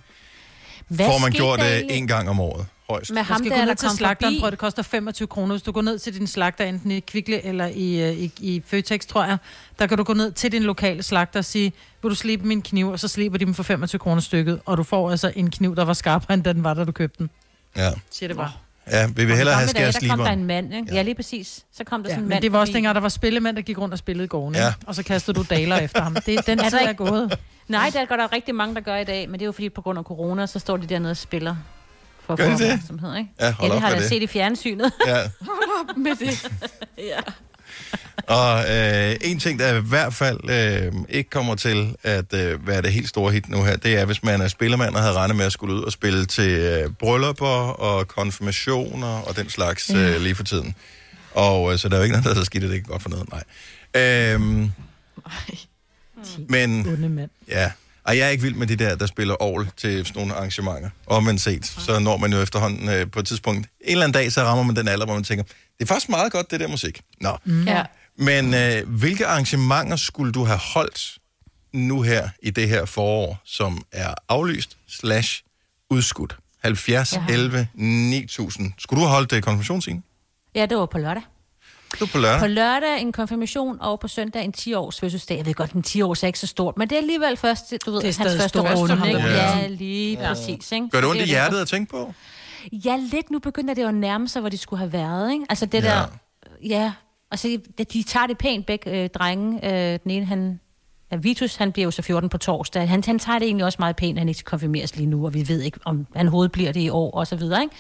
D: Hvad
A: får man
D: skete
A: gjort
D: der
A: øh,
D: egentlig?
A: en gang om året. højst.
D: Med ham
B: skal
D: der,
B: gå
D: der
B: ned til
D: kom
B: slagteren,
D: forbi.
B: prøv, at det koster 25 kroner. Hvis du går ned til din slagter, enten i Kvickle eller i, øh, i, i Føtex, tror jeg, der kan du gå ned til din lokale slagter og sige, vil du slippe min kniv, og så slipper de dem for 25 kroner stykket, og du får altså en kniv, der var skarpere, end den var, da du købte den.
A: Ja.
B: Siger det bare.
A: Ja, vi vil hellere have
D: Der
A: skære
D: kom der en
A: sliberen.
D: mand, ikke? Ja. ja, lige præcis. Så kom der
B: Ja,
D: sådan en
B: men
D: mand.
B: det var også
D: forbi.
B: dengang, der var spillemænd, der gik rundt og spillede i gården,
A: Ja.
B: ja. og så kastede du daler efter ham. Det,
D: *laughs*
B: den
D: Er
B: tid
D: der
B: *laughs* er
D: ikke-
B: gået.
D: Nej, der går der rigtig mange, der gør i dag, men det er jo fordi, på grund af corona, så står de dernede og spiller. For
A: Gør de det?
D: opmærksomhed, ikke?
A: Ja, hold
D: ja, det
A: op
D: har
A: med
D: jeg da
A: det.
D: set i fjernsynet. *laughs*
A: Ja.
D: hold op med det. ja.
A: Og øh, en ting, der i hvert fald øh, ikke kommer til at øh, være det helt store hit nu her, det er, hvis man er spillemand og havde regnet med at skulle ud og spille til øh, bryllupper og konfirmationer og den slags øh, lige for tiden. Og øh, så der er jo ikke noget, der hedder skidt, og det er ikke godt for noget, nej. Øhm, men...
B: mand.
A: Ja. Og jeg er ikke vild med de der, der spiller ovl til sådan nogle arrangementer. Og man set, så når man jo efterhånden øh, på et tidspunkt, en eller anden dag, så rammer man den alder, hvor man tænker, det er faktisk meget godt, det der musik. Nå.
G: Mm. Ja.
A: Men øh, hvilke arrangementer skulle du have holdt nu her i det her forår, som er aflyst slash udskudt? 70,
D: Ja.
A: 11, 9000. Skulle du have holdt øh, konfirmationsscenen?
D: ja, det var på lørdag.
A: Du på lørdag?
D: På lørdag en konfirmation, og på søndag en 10-års fødselsdag. Jeg ved godt, den 10-års er ikke så stort, men det er alligevel første, du ved,
B: Det er
D: hans
B: stadig
D: første
B: stort.
D: røstning.
B: Rune
D: ikke?
B: Hammer.
D: Ja,
B: Ja.
D: lige
B: Ja.
D: ja. præcis. Ikke?
A: Gør det
D: Så
A: ondt i
D: er jo
A: hjertet at tænke på?
D: Ja, lidt. Nu begynder det jo at nærme sig, hvor de skulle have været. Ikke? Altså det
A: Ja.
D: ja. der... Ja, og så de, de tager det pænt begge øh, drenge. Øh, den ene, han... Ja, Vitus, han bliver jo så 14 på torsdag. Han, han tager det egentlig også meget pænt, at han ikke skal konfirmeres lige nu, og vi ved ikke, om han hovedet bliver det i år, og så videre, ikke?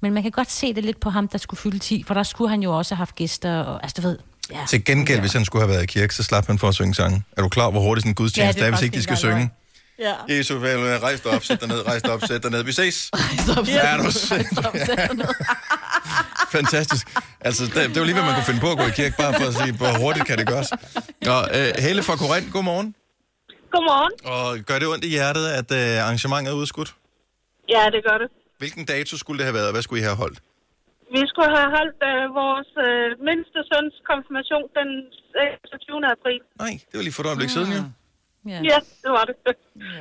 D: Men man kan godt se det lidt på ham, der skulle fylde 10, for der skulle han jo også have haft gæster, og, altså du ved... Ja.
A: Til gengæld, hvis han skulle have været i kirke, så slap han for at synge sange. Er du klar, hvor hurtigt sådan en gudstjeneste
D: Ja, det er
A: er, hvis
D: faktisk
A: ikke de skal
D: ikke engang
A: synge?
D: Ja.
A: Jesus, vel, rejs dig op, sæt dig ned, rejs dig op, sæt dig ned. Vi ses. Rejs
D: op,
A: er du sindssyg? Fantastisk. Altså, det, det var lige, hvad man kunne finde på at gå i kirke, bare for at sige, hvor hurtigt kan det gøres. Og uh, Helle fra Korinth, godmorgen.
P: Godmorgen.
A: Og gør det ondt i hjertet, at uh, arrangementet er udskudt?
P: Ja, det gør det.
A: Hvilken dato skulle det have været, og hvad skulle I have holdt?
P: Vi skulle have holdt øh, vores øh, mindste søns konfirmation den 26. april.
A: Nej. Det var lige for et øjeblik siden, jo.
D: Ah.
P: Ja, ja det var det.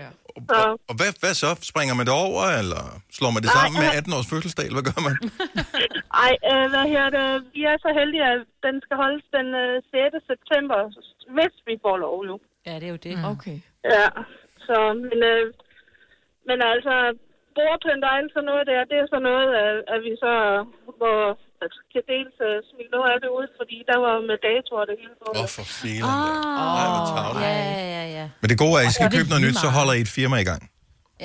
P: Ja. Så,
A: Og hvad, hvad så? Springer man det over, eller slår man det
P: Nej,
A: sammen med
P: øh.
A: 18 års fødselsdag, eller hvad gør
D: *laughs*
A: man?
P: ej, øh, hvad her det? Vi er så heldige, at den skal holdes den øh, 6. september, hvis vi får lov nu.
D: Ja, det er jo det. Mm. Okay.
P: Ja, så, men, øh, men altså, bordpynt og alt sådan noget der, det er sådan noget, at, at vi så, hvor altså, kan dels uh, smide noget af det ud, fordi der var med datoer det hele på.
A: Åh, oh, for filen.
D: Åh,
A: tavligt.
D: Ah, ja, ja, ja.
A: Men det gode er, at I
D: Ja,
A: skal
D: det er
A: købe noget
D: lige
A: nyt, så
D: meget.
A: holder I et firma i gang.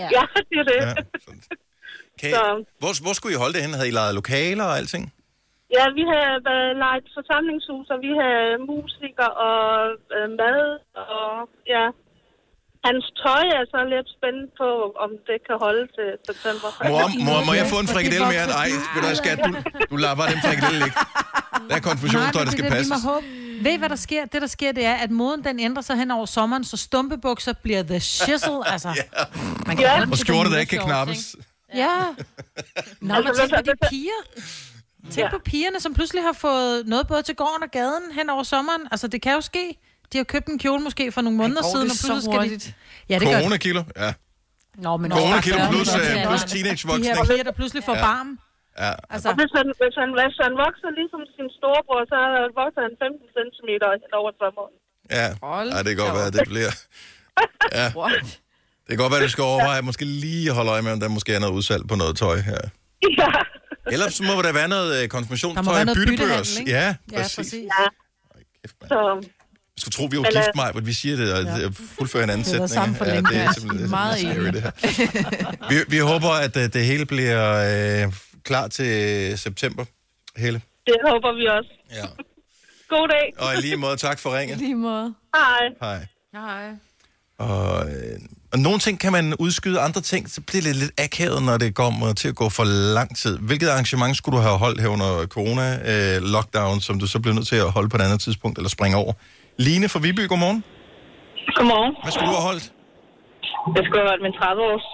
P: Ja, ja det er det.
A: Ja. Kan I, hvor, hvor skulle I holde det hen? Havde I lejet lokaler og alting?
P: Ja, vi har øh, lejet forsamlingshus, og vi har musikere og øh, mad, og ja. Hans tøj er så lidt spændt på, om det kan holde til september.
A: Mor, mor må jeg få en frikadelle mere? Nej, ved du hvad, skat, du, du lader bare den frikadelle ligge. Der er konfusionstøj, der
B: det er
A: skal
B: det, vi
A: passe.
B: må håbe. Ved I, hvad der sker? Det, der sker, det er, at moden den ændrer sig hen over sommeren, så stumpebukser bliver the *laughs* shizzle. Altså,
A: Ja.
B: Man kan godt
A: Og
B: til
A: skjorter,
B: den
A: der ikke kan
B: lille
A: knappes.
B: Ja. Nå, men tænk på de piger. Tænk ja. på pigerne, som pludselig har fået noget både til gården og gaden hen over sommeren. Altså, det kan jo ske. De har købt en kjole måske for nogle måneder
D: går
B: siden,
D: det
B: og
D: så
B: pludselig skal de...
D: hurtigt?
B: Ja, det gør det.
A: Coronakilo, ja.
D: Nå, men også bare
A: Coronakilo
D: fyrre
A: plus,
D: minutter til
A: øh, plus
D: alderen.
A: teenagevoksning.
B: De her piger, der pludselig får
A: Ja.
B: barm.
A: Ja.
B: Altså.
P: Og hvis han, hvis, han, hvis han vokser ligesom sin storebror, så vokser han 15 cm over sommeren.
A: Ja,
P: Hold
A: Ej, det kan
P: da
A: godt være,
P: op.
A: det bliver... Ja. Det kan godt være, du skal overveje, måske lige holde øje med, om der måske er noget udsalg på noget tøj her.
P: Ja.
A: Ellers så må der være noget øh,
P: Der må
A: konfirmationstøj,
P: være noget byttehandel,
A: byttebørs.
P: ikke?
A: Ja,
P: Ja,
A: præcis.
P: præcis. Ja. Så,
A: Jeg skulle tro, vi var
P: Eller-
A: gift, Maj, men vi siger det, og ja. fuldfører en anden
P: Vi har været
A: sætning.
P: sammen for længe.
A: det
P: Ja,
A: er simpelthen
P: meget
A: scary,
P: enige.
A: det her. Vi, vi håber, at øh, det hele bliver øh, klar til øh, september, Helle.
P: det håber vi også.
A: Ja.
P: God dag.
A: Og i lige måde, tak for ringet.
P: lige måde. Hej.
A: Hej.
P: Hej.
A: Og, øh, og nogle ting kan man udskyde, andre ting, så bliver det lidt akavet, når det kommer til at gå for lang tid. Hvilket arrangement skulle du have holdt her under corona-lockdown, som du så blev nødt til at holde på et andet tidspunkt, eller springe over? Line fra Viby, godmorgen.
P: Godmorgen.
A: Hvad skulle du have holdt?
P: Jeg skulle have holdt min 30-års.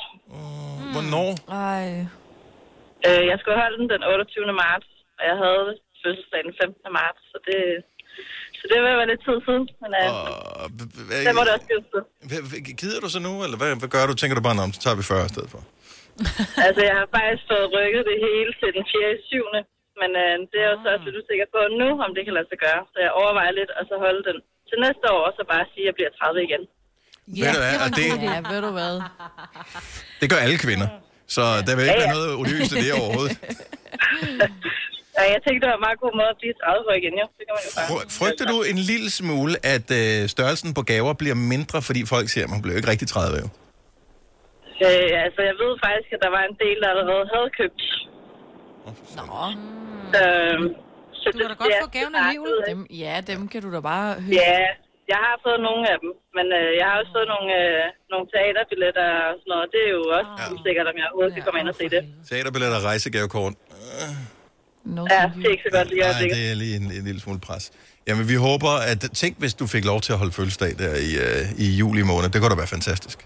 A: Hvornår?
P: Ej. Øh, jeg skulle holde den den 28. marts, og jeg havde fødselsdag den 15. marts, så det, så det var lidt tid siden. Men øh,
A: Og,
P: det må det også blive tid.
A: Hvad- hvad- Gider du så nu, eller hvad, hvad gør du? Tænker du bare, om så tager vi 40 i stedet for?
P: altså, jeg har faktisk fået rykket det hele til den 4. 7. Men øh, det er jeg jo så også lidt usikker på nu, om det kan lade sig gøre. Så jeg overvejer lidt, og så holde den til næste år, og så bare sige, at jeg bliver 30 igen.
A: Ja, Ved du hvad, det var og en det- god
P: ja, ved du hvad?
A: Det gør alle kvinder. Så der vil
P: Ja,
A: ikke
P: ja.
A: være noget odiøst i det
P: *laughs*
A: overhovedet.
P: Ja, jeg tænkte, det var en meget god måde at blive 30 på igen, jo. Det kan man jo bare.
A: Fry- Frygter du en lille smule, at øh, størrelsen på gaver bliver mindre, fordi folk siger, at man bliver jo ikke rigtig 30 jo?
P: Øh, altså, jeg ved faktisk, at der var en del, der allerede havde købt. Nå. Øh, så du kan da godt få gaven alligevel. Dem, ja, dem kan du da bare høre. Ja, jeg har fået nogle af dem, men øh, jeg har også fået nogle, øh, nogle teaterbilletter og sådan noget. Det er jo også
A: Ah.
P: ja. usikkert, om jeg overhovedet kan komme ind og se det.
A: Teaterbilletter, rejsegavekort.
P: No, ja, det er ikke så godt lige i
A: Nej,
P: øjeblikket.
A: det er lige en, en lille smule pres. Jamen, vi håber, at... Tænk, hvis du fik lov til at holde fødselsdag der i, øh, i juli måned. Det kunne da være fantastisk.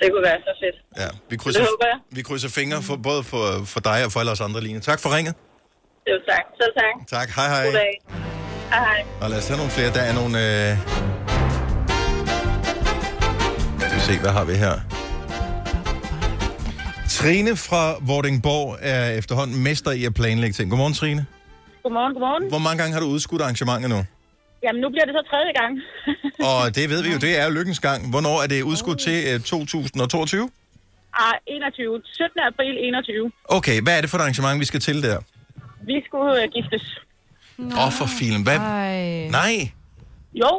P: Det kunne være så fedt.
A: Ja, vi
P: Det
A: krydser,
P: håber jeg.
A: vi krydser fingre for, både for, for dig og for alle os andre, Line. Tak for ringet.
P: Jo, tak. Selv tak.
A: Tak, hej hej.
P: God dag. Hej hej.
A: Og lad os tage nogle flere. Der er nogle... Øh... Skal vi se, hvad har vi her? Trine fra Vordingborg er efterhånden mester i at planlægge ting. Godmorgen, Trine.
G: Godmorgen, godmorgen.
A: Hvor mange gange har du udskudt arrangementer nu?
G: Jamen, nu bliver det så tredje gang.
A: Og det ved vi jo, det er jo lykkens gang. Hvornår er det udskudt til øh, 2022?
G: Ah, 21. 17. april 21.
A: Okay, hvad er det for et arrangement, vi skal til der?
G: Vi skulle øh, giftes.
A: Åh, oh, for filen. Hvad? Nej.
G: Jo.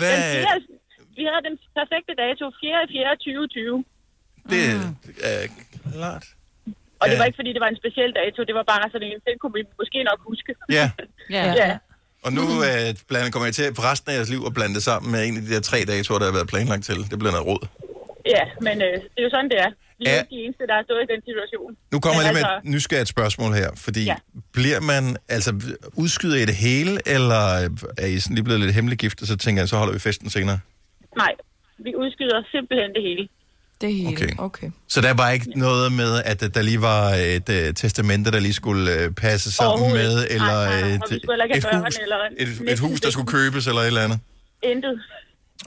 A: Hvad?
G: Den fjerde- vi havde den perfekte dato, 4. 4. 2020.
A: Det er klart.
G: Og det
A: Ja.
G: var ikke, fordi det var en speciel dato. Det var bare sådan en, den kunne vi måske nok huske.
A: Ja.
G: Ja. ja.
A: Og nu øh, blander, kommer jeg til for resten af jeres liv at blande det sammen med en af de der tre datoer, der har været planlagt til. Det bliver noget råd.
G: Ja, men øh, det er jo sådan, det er. Vi er
A: Ja.
G: ja. ikke de eneste, der har stået i den situation.
A: Nu kommer
G: Men
A: jeg lige med
G: altså-
A: et nysgerrigt spørgsmål her, fordi ja.
G: Ja.
A: bliver man, altså udskyder I det hele, eller er I sådan lige blevet lidt hemmelig gift, og så tænker jeg, så holder vi festen senere?
G: Nej, vi udskyder simpelthen det hele.
C: Det hele,
A: Okay.
C: okay.
A: Så der var ikke noget med, at øh, der lige var et uh, testamente, der lige skulle uh, passe sammen
G: Overhovedet
A: med,
G: ikke.
A: eller
G: Nej, nej,
A: et,
G: og vi skulle heller ikke
A: et,
G: have
A: hus,
G: børn, eller
A: et, et
G: næsten
A: hus, der skulle købes, eller et eller andet?
G: Intet.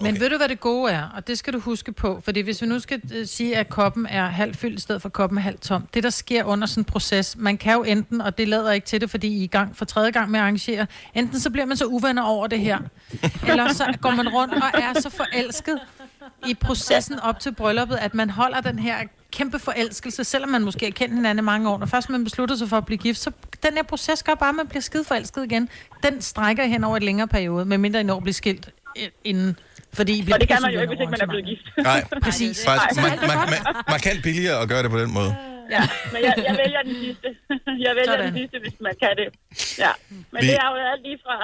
B: Men ved du, hvad det gode er? Og det skal du huske på. Fordi hvis vi nu skal øh, sige, at koppen er halvt fyldt i stedet for koppen er halvt tom. Det, der sker under sådan en proces, man kan jo enten, og det lader ikke til det, fordi I er i gang for tredje gang med at arrangere, enten så bliver man så uvenner over det her, eller så går man rundt og er så forelsket i processen op til brylluppet, at man holder den her kæmpe forelskelse, selvom man måske har kendt hinanden i mange år. Når først man beslutter sig for at blive gift, så den her proces gør bare, at man bliver skide forelsket igen. Den strækker hen over et længere periode, medmindre I når at blive skilt øh, inden. Fordi I bliver
G: Og det kan man
B: pludselig
G: jo ikke,
B: venner
G: hvis ikke man er blevet gift.
A: *laughs* Nej,
B: Præcis.
A: Faktisk,
G: Nej,
A: man,
G: så alt er
A: man,
G: godt.
A: man, man kan billigere at gøre det på den måde.
G: Ja, men jeg, jeg vælger den sidste. *laughs* Jeg vælger Sådan. den sidste, hvis man kan det. Ja. Men
A: Vi-
G: det er jo alt lige fra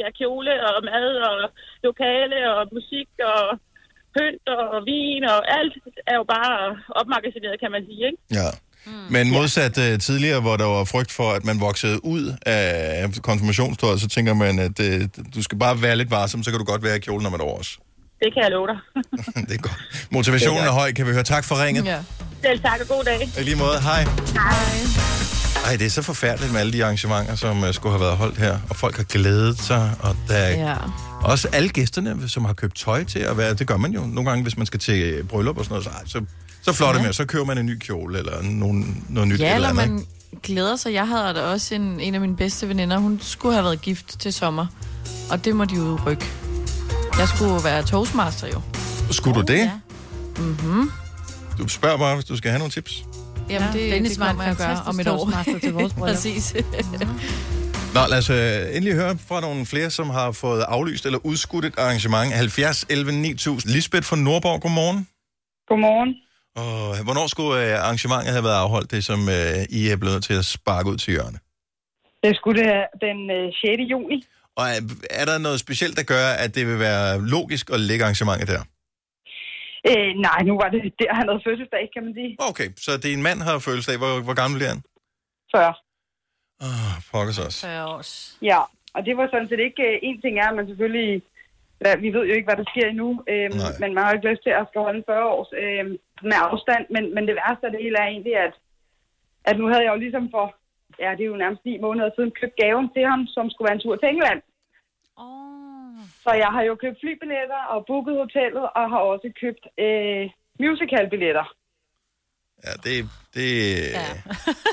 G: ja, kjole og mad og lokale og musik og pynt og vin og alt er jo bare opmagasineret, kan man sige, ikke?
A: Ja. Men modsat uh, tidligere, hvor der var frygt for, at man voksede ud af konfirmationstøjet, så tænker man, at uh, du skal bare være lidt varsom, så kan du godt være i kjolen om et år også.
G: Det kan jeg love dig.
A: Motivationen er høj, kan vi høre. Tak for ringet.
G: Ja. Selv tak og god dag.
A: Og I lige måde, hej.
G: Hej.
A: Ej, det er så forfærdeligt med alle de arrangementer, som uh, skulle have været holdt her, og folk har glædet sig, og der er ja.
C: Ja.
A: også alle gæsterne, som har købt tøj til at være, det gør man jo nogle gange, hvis man skal til øh, bryllup og sådan noget, så, ej, så, så flår det med, så køber man en ny kjole, eller nogen, noget nyt
C: Ja,
A: eller
C: eller
A: andet.
C: man glæder sig. Jeg havde da også en, en af mine bedste veninder. Hun skulle have været gift til sommer, og det må de jo rykke. Jeg skulle jo være toastmaster jo.
A: ikke? Skulle du det? Ja.
C: Mm-hmm.
A: Du spørger bare, hvis du skal have nogle tips.
C: Jamen,
B: Ja,
C: det,
B: Dennis
C: det
B: var en
C: kommer jeg at gøre om
B: fantastisk
C: et år.
B: toastmaster til
C: *laughs*
B: vores bryllup.
C: Præcis.
B: *laughs*
A: Nå, lad os øh, endelig høre fra nogle flere, som har fået aflyst eller udskudt et arrangement. 70 11 9000. Lisbeth fra Nordborg, godmorgen.
I: Godmorgen.
A: Og hvornår skulle øh, arrangementet have været afholdt, det som øh, I er blevet nødt til at sparke ud til hjørne?
I: Det skulle det være den øh, 6. juni.
A: Og er, er der noget specielt, der gør, at det vil være logisk at lægge arrangementet der?
I: Øh, nej, nu var det der, han havde fødselsdag, kan man sige.
A: Okay, så din mand har fødselsdag. Hvor, hvor gammel bliver han?
I: 40.
A: Åh, pokkers også.
I: 40 års. Ja, og det var sådan set ikke... Øh, en ting er, at man selvfølgelig... hvad- Vi ved jo ikke, hvad der sker endnu, øhm, men man har jo ikke lyst til at skal holde en 40 års øhm, med afstand. Men, men det værste af det hele er egentlig, at, at nu havde jeg jo ligesom for... Ja, det er jo nærmest 9 måneder siden, købt gaven til ham, som skulle være en tur til England.
A: Mm.
I: Så jeg har jo købt flybilletter og booket hotellet, og har også købt øh, musicalbilletter.
A: Ja, det... det ja.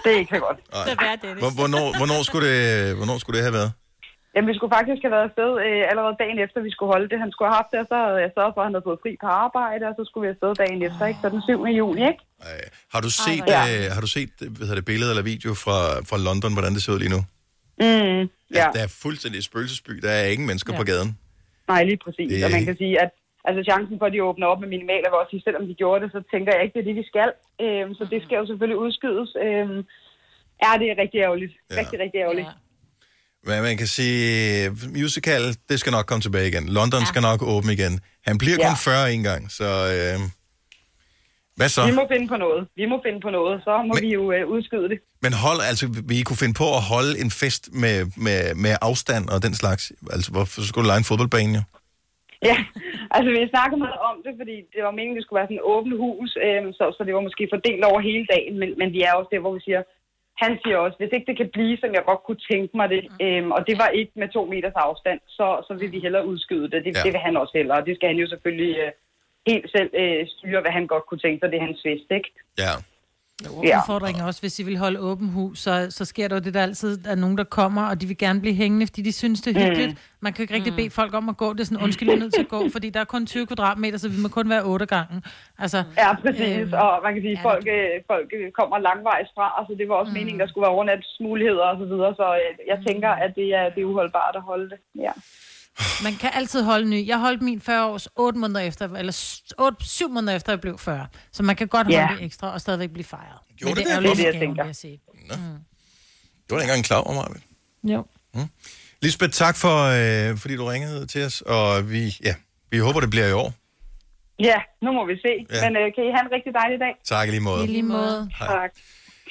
I: Det er ikke så godt.
A: Det er Hvor, hvornår, hvornår, skulle det, hvornår skulle det have været?
I: Jamen, vi skulle faktisk have været afsted øh, allerede dagen efter, vi skulle holde det. Han skulle have haft det, og så havde jeg sørget for, at han havde fået fri på arbejde, og så skulle vi afsted dagen efter, ikke? Så den 7. juni, ikke?
A: Har du set,
I: Ja.
A: øh, har du set hvad hedder det, billeder eller video fra, fra London, hvordan det ser ud lige nu?
I: Mm,
A: Ja. Der er fuldstændig et spøgelsesby. Der er ingen mennesker ja. på gaden.
I: nej, lige præcis.
A: Det-
I: Og man kan sige, at altså, chancen for, at de åbner op med minimal er også, selvom de gjorde det, så tænker jeg ikke, det er det, vi skal. Øhm, så det skal jo selvfølgelig udskydes. Øhm, ja, det er rigtig ærgerligt. Ja. Rigtig, rigtig ærgerligt. Ja.
A: Men man kan sige, musical, det skal nok komme tilbage igen. London ja. skal nok åbne igen. Han bliver kun
I: Ja.
A: 40 en gang, så... Øh, hvad så?
I: Vi må finde på noget. Vi må finde på noget. Så må Men... vi jo øh, udskyde det.
A: Men hold, altså, vi kunne finde på at holde en fest med, med, med afstand og den slags. Altså, hvorfor skulle du lege en fodboldbane, jo?
I: Ja, altså vi snakkede meget om det, fordi det var meningen, det skulle være sådan et åbent hus, øh, så, så det var måske fordelt over hele dagen, men, men vi er også der, hvor vi siger, han siger også, hvis ikke det kan blive, som jeg godt kunne tænke mig det, øh, og det var ikke med to meters afstand, så, så vil vi hellere udskyde det. Det,
A: Ja.
I: ja. det vil han også hellere, og det skal han jo selvfølgelig øh, helt selv øh, styre, hvad han godt kunne tænke sig, det er hans fest, ikke?
A: Ja.
I: Ja.
B: Udfordringen er også, hvis I vil holde åben hus, så, så sker der jo det, der altid er nogen, der kommer, og de vil gerne blive hængende, fordi de synes, det er
I: Mm.
B: hyggeligt. Man kan jo ikke rigtig bede folk om at gå. Det er sådan, undskyld, vi er nødt til at gå, fordi der er kun 20 kvadratmeter, så vi må kun være 8 gangen. Altså,
I: Ja, præcis.
B: øhm,
I: Øhm, og man kan sige, at folk, øh, folk øh, kommer langvejs fra, og så det var også mm. meningen, der skulle være overnatsmuligheder og så videre, så øh, jeg tænker, at det er, det er uholdbart at holde det. Ja.
B: Man kan altid holde ny. Jeg holdt min 40 års 8 måneder efter, eller 8, 7 måneder efter, jeg blev 40. Så man kan godt holde
A: Ja.
B: det ekstra og stadigvæk blive fejret.
A: Gjorde
B: Men
A: det
B: det er
A: det?
B: jo lidt
A: Det er det, jeg
B: skævt,
A: tænker.
B: vil jeg sige. Mm.
A: Det var jeg ikke engang klar over mig.
B: Jo.
A: Lisbeth, tak for, øh, fordi du ringede til os, og vi, ja, vi håber, det bliver i år.
I: Ja, nu må vi se.
A: Ja.
I: Ja. Men øh, kan I have en rigtig dejlig dag?
A: Tak i lige måde.
I: måde.
A: Hej.
I: Tak.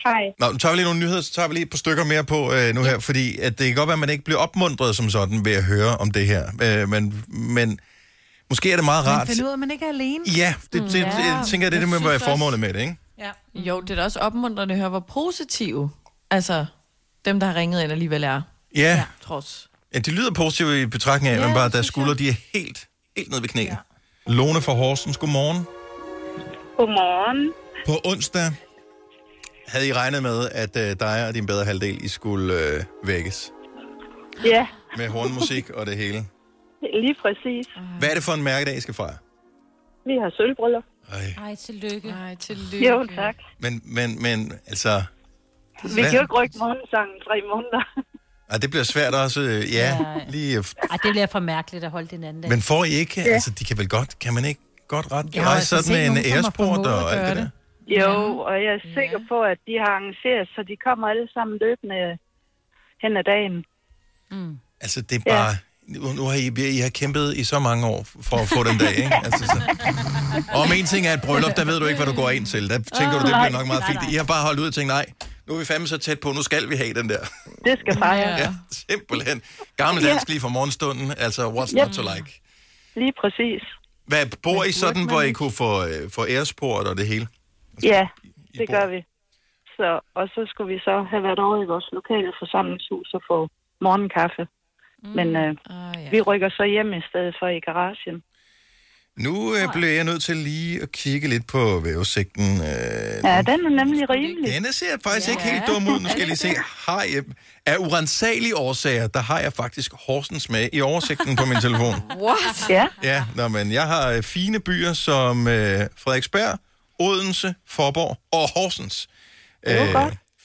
I: Hej.
A: Nå, nu tager vi lige nogle nyheder, så tager vi lige et par stykker mere på øh, nu her, fordi at det kan godt være, at man ikke bliver opmuntret som sådan ved at høre om det her. Øh, men, men måske er det meget
B: Man
A: rart.
B: finder ud af, at man ikke er alene.
A: Ja, det, det, det, jeg tænker, det er det, med, hvad er formålet med det, ikke?
B: Ja.
C: Jo, det er da også opmuntrende at høre, hvor positive altså, dem, der har ringet ind alligevel er.
A: Ja.
C: Trods.
A: ja, de lyder positive i betragtning af, ja, men bare deres skuldre, de er helt, helt nede ved knæet. Ja. Lone fra Horsens, godmorgen.
K: Godmorgen.
A: På onsdag havde I regnet med, at øh, dig og din bedre halvdel, I skulle øh, vækkes
K: Ja,
A: med hornmusik og det hele.
K: lige præcis.
A: Hvad er det for en mærkedag, I skal fejre?
K: Vi har sølvbriller.
D: Ej, tillykke.
C: Ej, tillykke.
K: Jo, tak.
A: Men, men, men, altså...
K: Vi
A: hvad-
K: kan jo ikke rykke morgensangen tre måneder.
A: Ej, det bliver svært også, øh, ja,
D: Ja.
A: lige... øh, f-
D: Ej, det bliver for mærkeligt at holde den anden dag.
A: Men får I ikke,
D: Ja.
A: ja. altså, de kan vel godt, kan man ikke godt ret
K: Jeg
A: ja,
K: har
A: rejse
K: altså
A: sådan
K: set
A: med en
K: nogen, som har
A: æresport
K: formået
A: og
K: at
A: alt det
K: gøre
A: der?
K: Jo, og jeg er sikker på, at de har arrangeret, så de kommer alle sammen løbende hen ad dagen. Mm.
A: Altså, det er bare... Nu, nu har I, I har kæmpet i så mange år for at få den dag, ikke? Altså, så. Og om en ting er et bryllup, der ved du ikke, hvad du går ind til. Der tænker du, det
K: Ah, Nej.
A: bliver nok meget fint. I har bare holdt ud og tænkt, nej, nu er vi fandme så tæt på, nu skal vi have den der.
K: Det skal fejres.
A: Ja, simpelthen. Gammel dansk lige fra morgenstunden, altså what's
K: Ja.
A: not to like.
K: Lige præcis.
A: Hvad, bor I sådan, hvor I kunne få, øh, få æresport og det hele?
K: Ja, det gør vi. Så, og så skulle vi så have været over i vores lokale forsamlingshus og få morgenkaffe. Mm. Men øh,
C: ja.
K: vi rykker så hjem i stedet for i garagen.
A: Nu øh, blev jeg nødt til lige at kigge lidt på vævesigten. Øh,
K: Ja, den er nemlig rimelig.
A: Denne ser faktisk ja. ikke helt dum ud. Nu skal jeg lige se. Har jeg, af urensagelige årsager, der har jeg faktisk Horsens med i oversigten på min telefon.
K: What? Ja.
A: Ja, nå, men jeg har øh, fine byer som øh, Frederiksberg, Odense, Forborg og Horsens. Øh,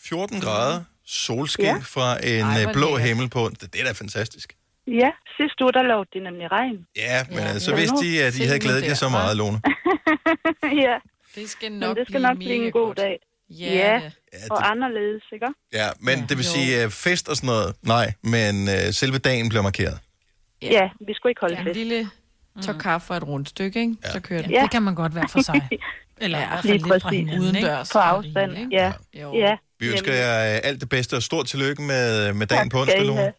A: 14 grader, solskin ja.
K: Ja.
A: fra en
K: Ej,
A: Ej,
K: hvor
A: blå
K: lækkert.
A: himmel på. Det, det er da fantastisk.
K: Ja, sidste uge, der lovede de nemlig regn.
A: Ja, men ja, så
K: Ja.
A: vidste de, at I havde glædet jer så meget, Lone.
K: *laughs* ja.
C: Det skal
K: Men
C: nok
K: det skal
C: blive
K: nok blive
C: mega
K: en god
C: godt.
K: dag.
C: Ja,
K: ja.
C: det-
K: og anderledes, ikke?
A: Ja, men ja. det vil sige, øh, fest og sådan noget, nej, men øh, selve dagen bliver markeret.
K: Ja, ja vi skulle ikke holde
C: ja, fest. en lille tår kaffe og et rundt stykke, ikke? Ja. Så kører det.
B: Ja, det kan man godt være for sig. Eller i hvert fald lidt fra hinanden, ikke?
C: Udendørs.
B: På
K: afstand, ja. ja.
A: Vi ønsker jer øh, alt det bedste og stort tillykke med, med dagen på onsdag, Lone.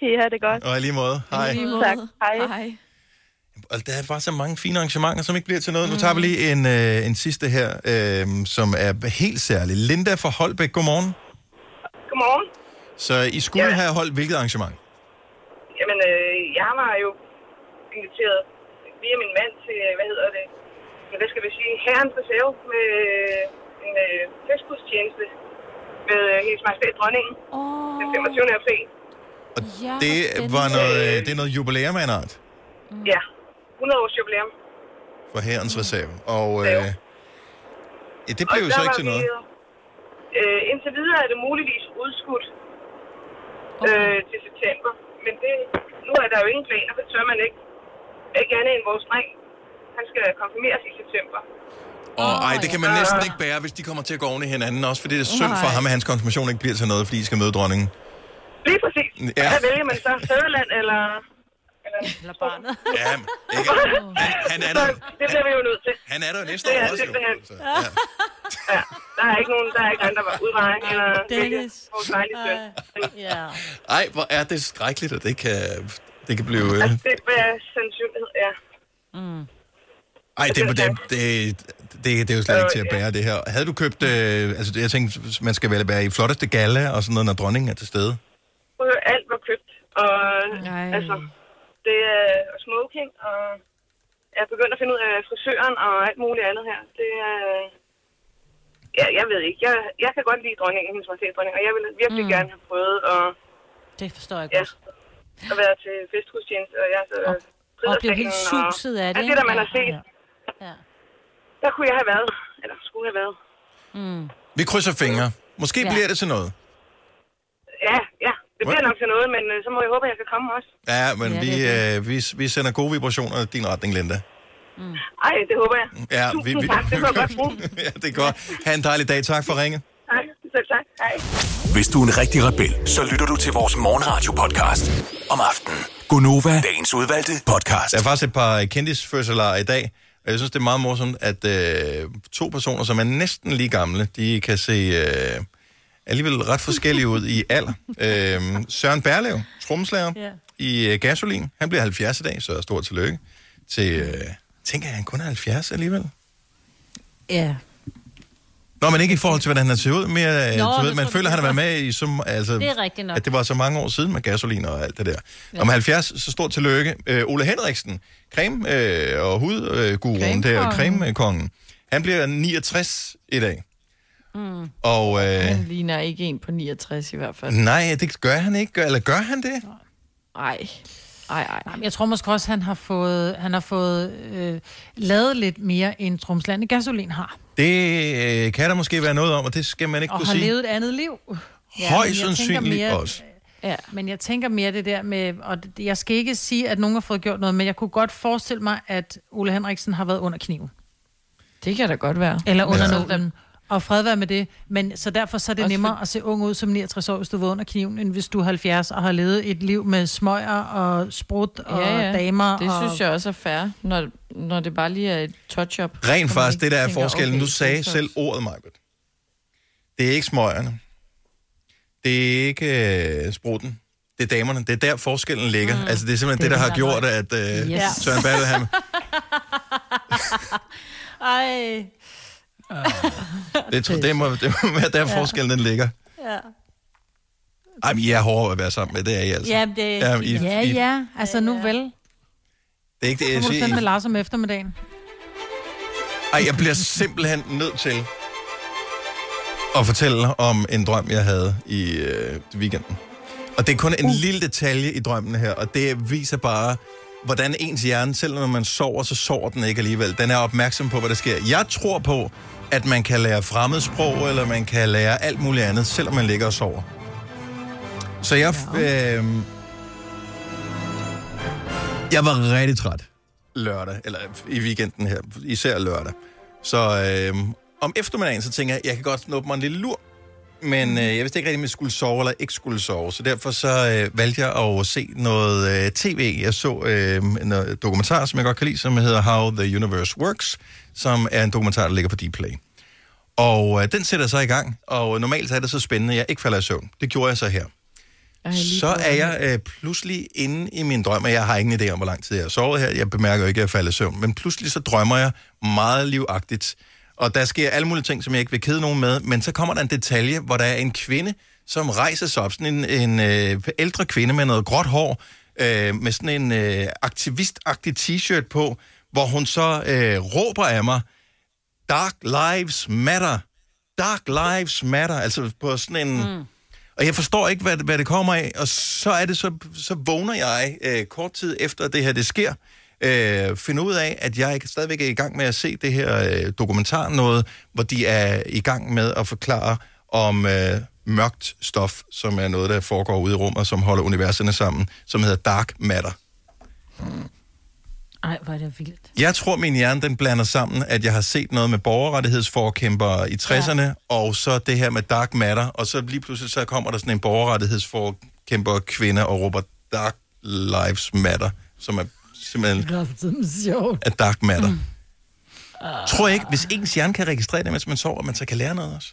K: Kan I have det godt?
A: Og i lige måde. Hej.
K: Tak. Hej.
C: Hej.
A: Og der er bare så mange fine arrangementer, som ikke bliver til noget. Nu tager vi lige en, øh, en sidste her, øh, som er helt særlig. Linda fra Holbæk, godmorgen.
L: Godmorgen.
A: Så I skulle ja. have holdt hvilket arrangement?
L: Jamen, øh, jeg var jo inviteret via min mand til, hvad hedder det, men hvad skal vi sige, herren på save med øh,
Y: en øh, tilskudstjeneste med øh, hendes majestæt dronningen oh. den 25. april.
D: Ja,
A: Det var noget, øh, det er noget jubilæum af en art
Y: Mm. Ja, 100 års jubilæum.
A: for herrens reserve. Og øh, ja, det blev jo så ikke til noget.
Y: Øh, indtil videre er det muligvis udskudt okay. øh, til september. Men det, nu er der jo ingen planer, for det tør man ikke. Ikke andet end vores dreng. Han skal konfirmeres i september.
A: Og ej, det kan man næsten ikke bære, hvis de kommer til at gå oven i hinanden også, fordi det er synd for
Y: Nej.
A: ham, at hans konfirmation ikke bliver til noget, fordi I skal møde dronningen.
Y: Lige præcis.
A: Ja.
Y: Ja. Hvad vælger man så? Fædreland eller... Eller, eller barnet.
A: Ja, men
Y: *laughs*
A: ikke? Han, han er der,
Y: det bliver vi jo nødt til.
A: han er der jo næste
Y: Det
A: år
Y: er
A: også. jo. Altså,
Y: simpelthen. Ja. ja. Der er ikke nogen, der er ikke andre udveje end at vælge vores dejlige søn.
B: Ja.
A: Altså. Ej, hvor er det skrækkeligt, at det kan, det kan blive... Øh,
Y: Altså, det er sandsynlighed, ja. Mm.
A: Ej, det, det, det, det, det, det er jo slet ikke til at bære det her. Havde du købt, øh, altså jeg tænkte, man skal vel være i flotteste gala og sådan noget, når dronningen er til stede.
Y: Prøv at høre, alt var købt, og Nej. altså, det er og smoking, og jeg er begyndt at finde ud af frisøren og alt muligt andet her. Det er... Ja, jeg ved ikke. Jeg, jeg kan godt lide dronningen, hendes majestæt dronning, og jeg vil virkelig mm. gerne have prøvet at,
D: Det forstår jeg
Y: ja,
D: godt.
Y: at være til festhustjeneste, og jeg så... Og,
D: opleve helt suset af det,
Y: Alt det, der
D: ikke?
Y: man har set. Ja. Der kunne jeg have været, eller skulle have været.
D: Mm.
A: Vi krydser fingre. Måske
Y: Ja.
A: ja. bliver det til noget.
Y: Ja, ja. Det bliver
A: Hvor-
Y: nok til noget, men øh, så må jeg håbe, at jeg kan komme også.
A: Ja, men
Y: Ja,
A: ja,
Y: det er
A: vi, øh, vi, vi sender gode vibrationer i din retning, Linda.
Y: Mm. Ej, det håber jeg.
A: Ja, vi,
Y: Tusind
A: vi,
Y: tak, det kunne jeg godt bruge.
A: *laughs* ja, det er godt. Ha' en dejlig dag. Tak for ringet.
Y: Hej, selv tak. Hej.
F: Hvis du er en rigtig rebel, så lytter du til vores morgenradio-podcast om aftenen.
A: Gunova.
F: Dagens udvalgte
A: podcast. Der er faktisk et par kendisfødselarer i dag, og jeg synes, det er meget morsomt, at øh, to personer, som er næsten lige gamle, de kan se øh, alligevel ret forskellige ud i alder. Øh, Søren Berlev, trommeslager
B: Ja.
A: i øh, Gasolin, han bliver 70 i dag, så stor tillykke til... Øh, tænker jeg, han kun er 70 alligevel?
D: Ja.
A: Nå, men ikke i forhold til, hvordan han ser ud, mere, øh,
D: Nå,
A: du ved,
D: det
A: man
D: tror
A: føler,
D: jeg,
A: han har
D: det
A: været med i, som, altså,
D: Det er rigtigt nok.
A: at det var så mange år siden med gasolin og alt det der.
D: Ja.
A: Ja. Om 70, så stort tillykke. Øh, Ole Henriksen, creme- øh, og hudguruen øh, der,
C: Cremekongen.
A: cremekongen, han bliver 69 i dag.
C: Mm.
A: Og øh,
C: Han ligner ikke en på 69 i hvert fald.
A: nej, det gør han ikke. Gør- Eller gør han det?
C: Nej. Ej, ej.
B: Jeg tror måske også, han har fået, han har fået øh, lavet lidt mere, end Tromsland i gasolin har.
A: Det øh, kan der måske være noget om, og det skal man ikke
B: og
A: kunne
B: har
A: sige.
B: levet et andet liv.
A: Ja,
B: men
A: Højst
B: jeg tænker
A: sandsynligt også.
B: Ja, men jeg tænker mere det der med, og det- jeg skal ikke sige, at nogen har fået gjort noget, men jeg kunne godt forestille mig, at Ole Henriksen har været under kniven.
C: Det kan da godt være.
B: Eller under
C: Ja.
B: ja. nålen. Og fred være med det. Men så derfor så er det nemmere at se ung ud som 69 år, hvis du var under kniven, end hvis du er 70 og har levet et liv med smøger og sprut og ja, ja. damer.
C: Det
B: og...
C: synes jeg også er fair, når, når det bare lige er et touch-up.
A: Rent
C: Hvor man
A: faktisk,
C: ikke
A: det der er
C: tænker,
A: forskellen.
C: okay,
A: du sagde
C: det er
A: selv ordet, Michael. Det er ikke smøgerne. Det er ikke øh, spruten. Det er damerne. Det er der forskellen ligger. Mm. Altså, det er simpelthen det, det der har gjort, at øh,
D: Yes.
A: yes. Søren Balle, han,
D: Ej.
A: det, tror- det, må, det må være der
D: Ja.
A: forskellen den ligger.
D: Ja.
A: Ej, men I er hårdere at være sammen med. Det er I altså.
B: Ja, det,
A: Ja, I-
B: ja,
A: I-
B: ja, altså nu vel.
A: Det er ikke det,
B: Nu
A: jeg
B: må du
A: siger.
B: sende med
A: I-
B: Lars om eftermiddagen.
A: Ej, jeg bliver simpelthen nødt til at fortælle om en drøm, jeg havde i øh, weekenden. Og det er kun en uh. lille detalje i drømmen her, og det viser bare, hvordan ens hjerne, selv når man sover, så sover den ikke alligevel. Den er opmærksom på, hvad der sker. Jeg tror på, at man kan lære fremmedsprog, eller man kan lære alt muligt andet, selvom man ligger og sover. Så jeg... Øh, jeg var rigtig træt lørdag, eller i weekenden her, især lørdag. Så øh, om eftermiddagen, så tænker jeg, jeg kan godt nå mig en lille lur. Men øh, jeg vidste ikke rigtig, om jeg skulle sove eller ikke skulle sove. Så derfor så øh, valgte jeg at se noget øh, tv. Jeg så øh, en øh, dokumentar, som jeg godt kan lide, som hedder How the Universe Works, som er en dokumentar, der ligger på Dplay. Og øh, den sætter sig i gang, og normalt så er det så spændende, at jeg ikke falder i søvn. Det gjorde jeg så her. Så er jeg øh, pludselig inde i min drøm, og jeg har ingen idé om, hvor lang tid jeg har sovet her. Jeg bemærker jo ikke, at jeg falder i søvn. Men pludselig så drømmer jeg meget livagtigt. Og der sker alle mulige ting, som jeg ikke vil kede nogen med. Men så kommer der en detalje, hvor der er en kvinde, som rejser sig op. Sådan en, en øh, ældre kvinde med noget gråt hår, øh, med sådan en øh, aktivistagtig t-shirt på, hvor hun så øh, råber af mig, Dark Lives Matter. Dark Lives Matter, altså på sådan en... Mm. Og jeg forstår ikke, hvad, hvad det kommer af, og så er det, så, så vågner jeg øh, kort tid efter det her, det sker, øh, finder ud af, at jeg ikke- stadigvæk er i gang med at se det her øh, dokumentar noget, hvor de er i gang med at forklare om øh, mørkt stof, som er noget, der foregår ude i rummet, som holder universerne sammen, som hedder Dark Matter.
D: Ej, hvor er det vildt.
A: Jeg tror, min hjerne den blander sammen, at jeg har set noget med borgerrettighedsforkæmper i 60'erne, ja. og så det her med dark matter, og så lige pludselig så kommer der sådan en borgerrettighedsforkæmper kvinde og råber dark lives matter, som er simpelthen
B: sjovt.
A: er dark matter. Mm. Tror jeg ikke, hvis ens hjerne kan registrere det, mens man sover, at man så kan lære noget også?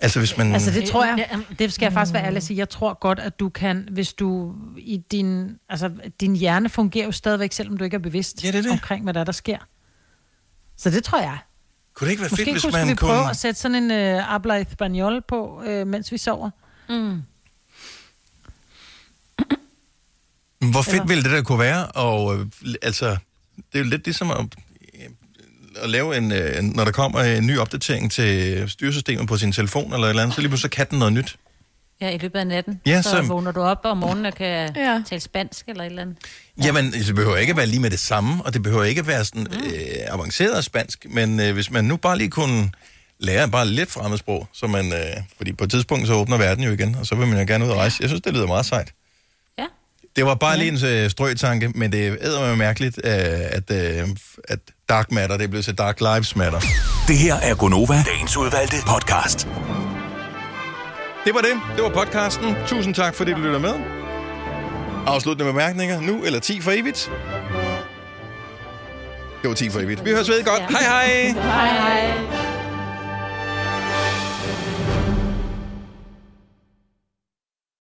A: Altså hvis man...
B: Altså det tror jeg, det skal jeg faktisk være ærlig at sige, jeg tror godt, at du kan, hvis du i din, altså din hjerne fungerer jo stadigvæk, selvom du ikke er bevidst ja, det er det. omkring, hvad der, er, der sker. Så det tror jeg.
A: Kunne det ikke være
B: Måske
A: fedt, hvis
B: kunne,
A: man
B: vi
A: kunne...
B: prøve at sætte sådan en øh, Abla Espanol på, øh, mens vi sover. Mm.
A: Hvor fedt
B: Eller-
A: ville det der kunne være? Og øh, l- altså, det er jo lidt ligesom at, øh, at lave en, øh, når der kommer en ny opdatering til styresystemet på sin telefon eller et eller andet, så lige pludselig så kan den noget nyt.
D: Ja, i løbet af natten.
A: Ja,
D: så,
A: så-
D: vågner du op om morgenen og kan ja. tale spansk eller et eller andet.
A: Jamen, det behøver ikke at være lige med det samme, og det behøver ikke at være sådan
D: Mm.
A: øh, avanceret spansk, men øh, hvis man nu bare lige kunne lære bare lidt fremmedsprog, så man, øh, fordi på et tidspunkt så åbner verden jo igen, og så vil man jo gerne ud og rejse. Jeg synes, det lyder meget sejt.
D: Ja.
A: Det var bare lige en øh, strøtanke, men det er mig mærkeligt, øh, at, øh, at dark matter, det er blevet til dark lives matter.
F: Det her er Gonova, dagens udvalgte podcast.
A: Det var det. Det var podcasten. Tusind tak, fordi du lytter med. Afsluttende bemærkninger nu, eller 10 for evigt. Det var 10 for evigt. Vi høres ved godt. Hej hej.
D: Hej, hej.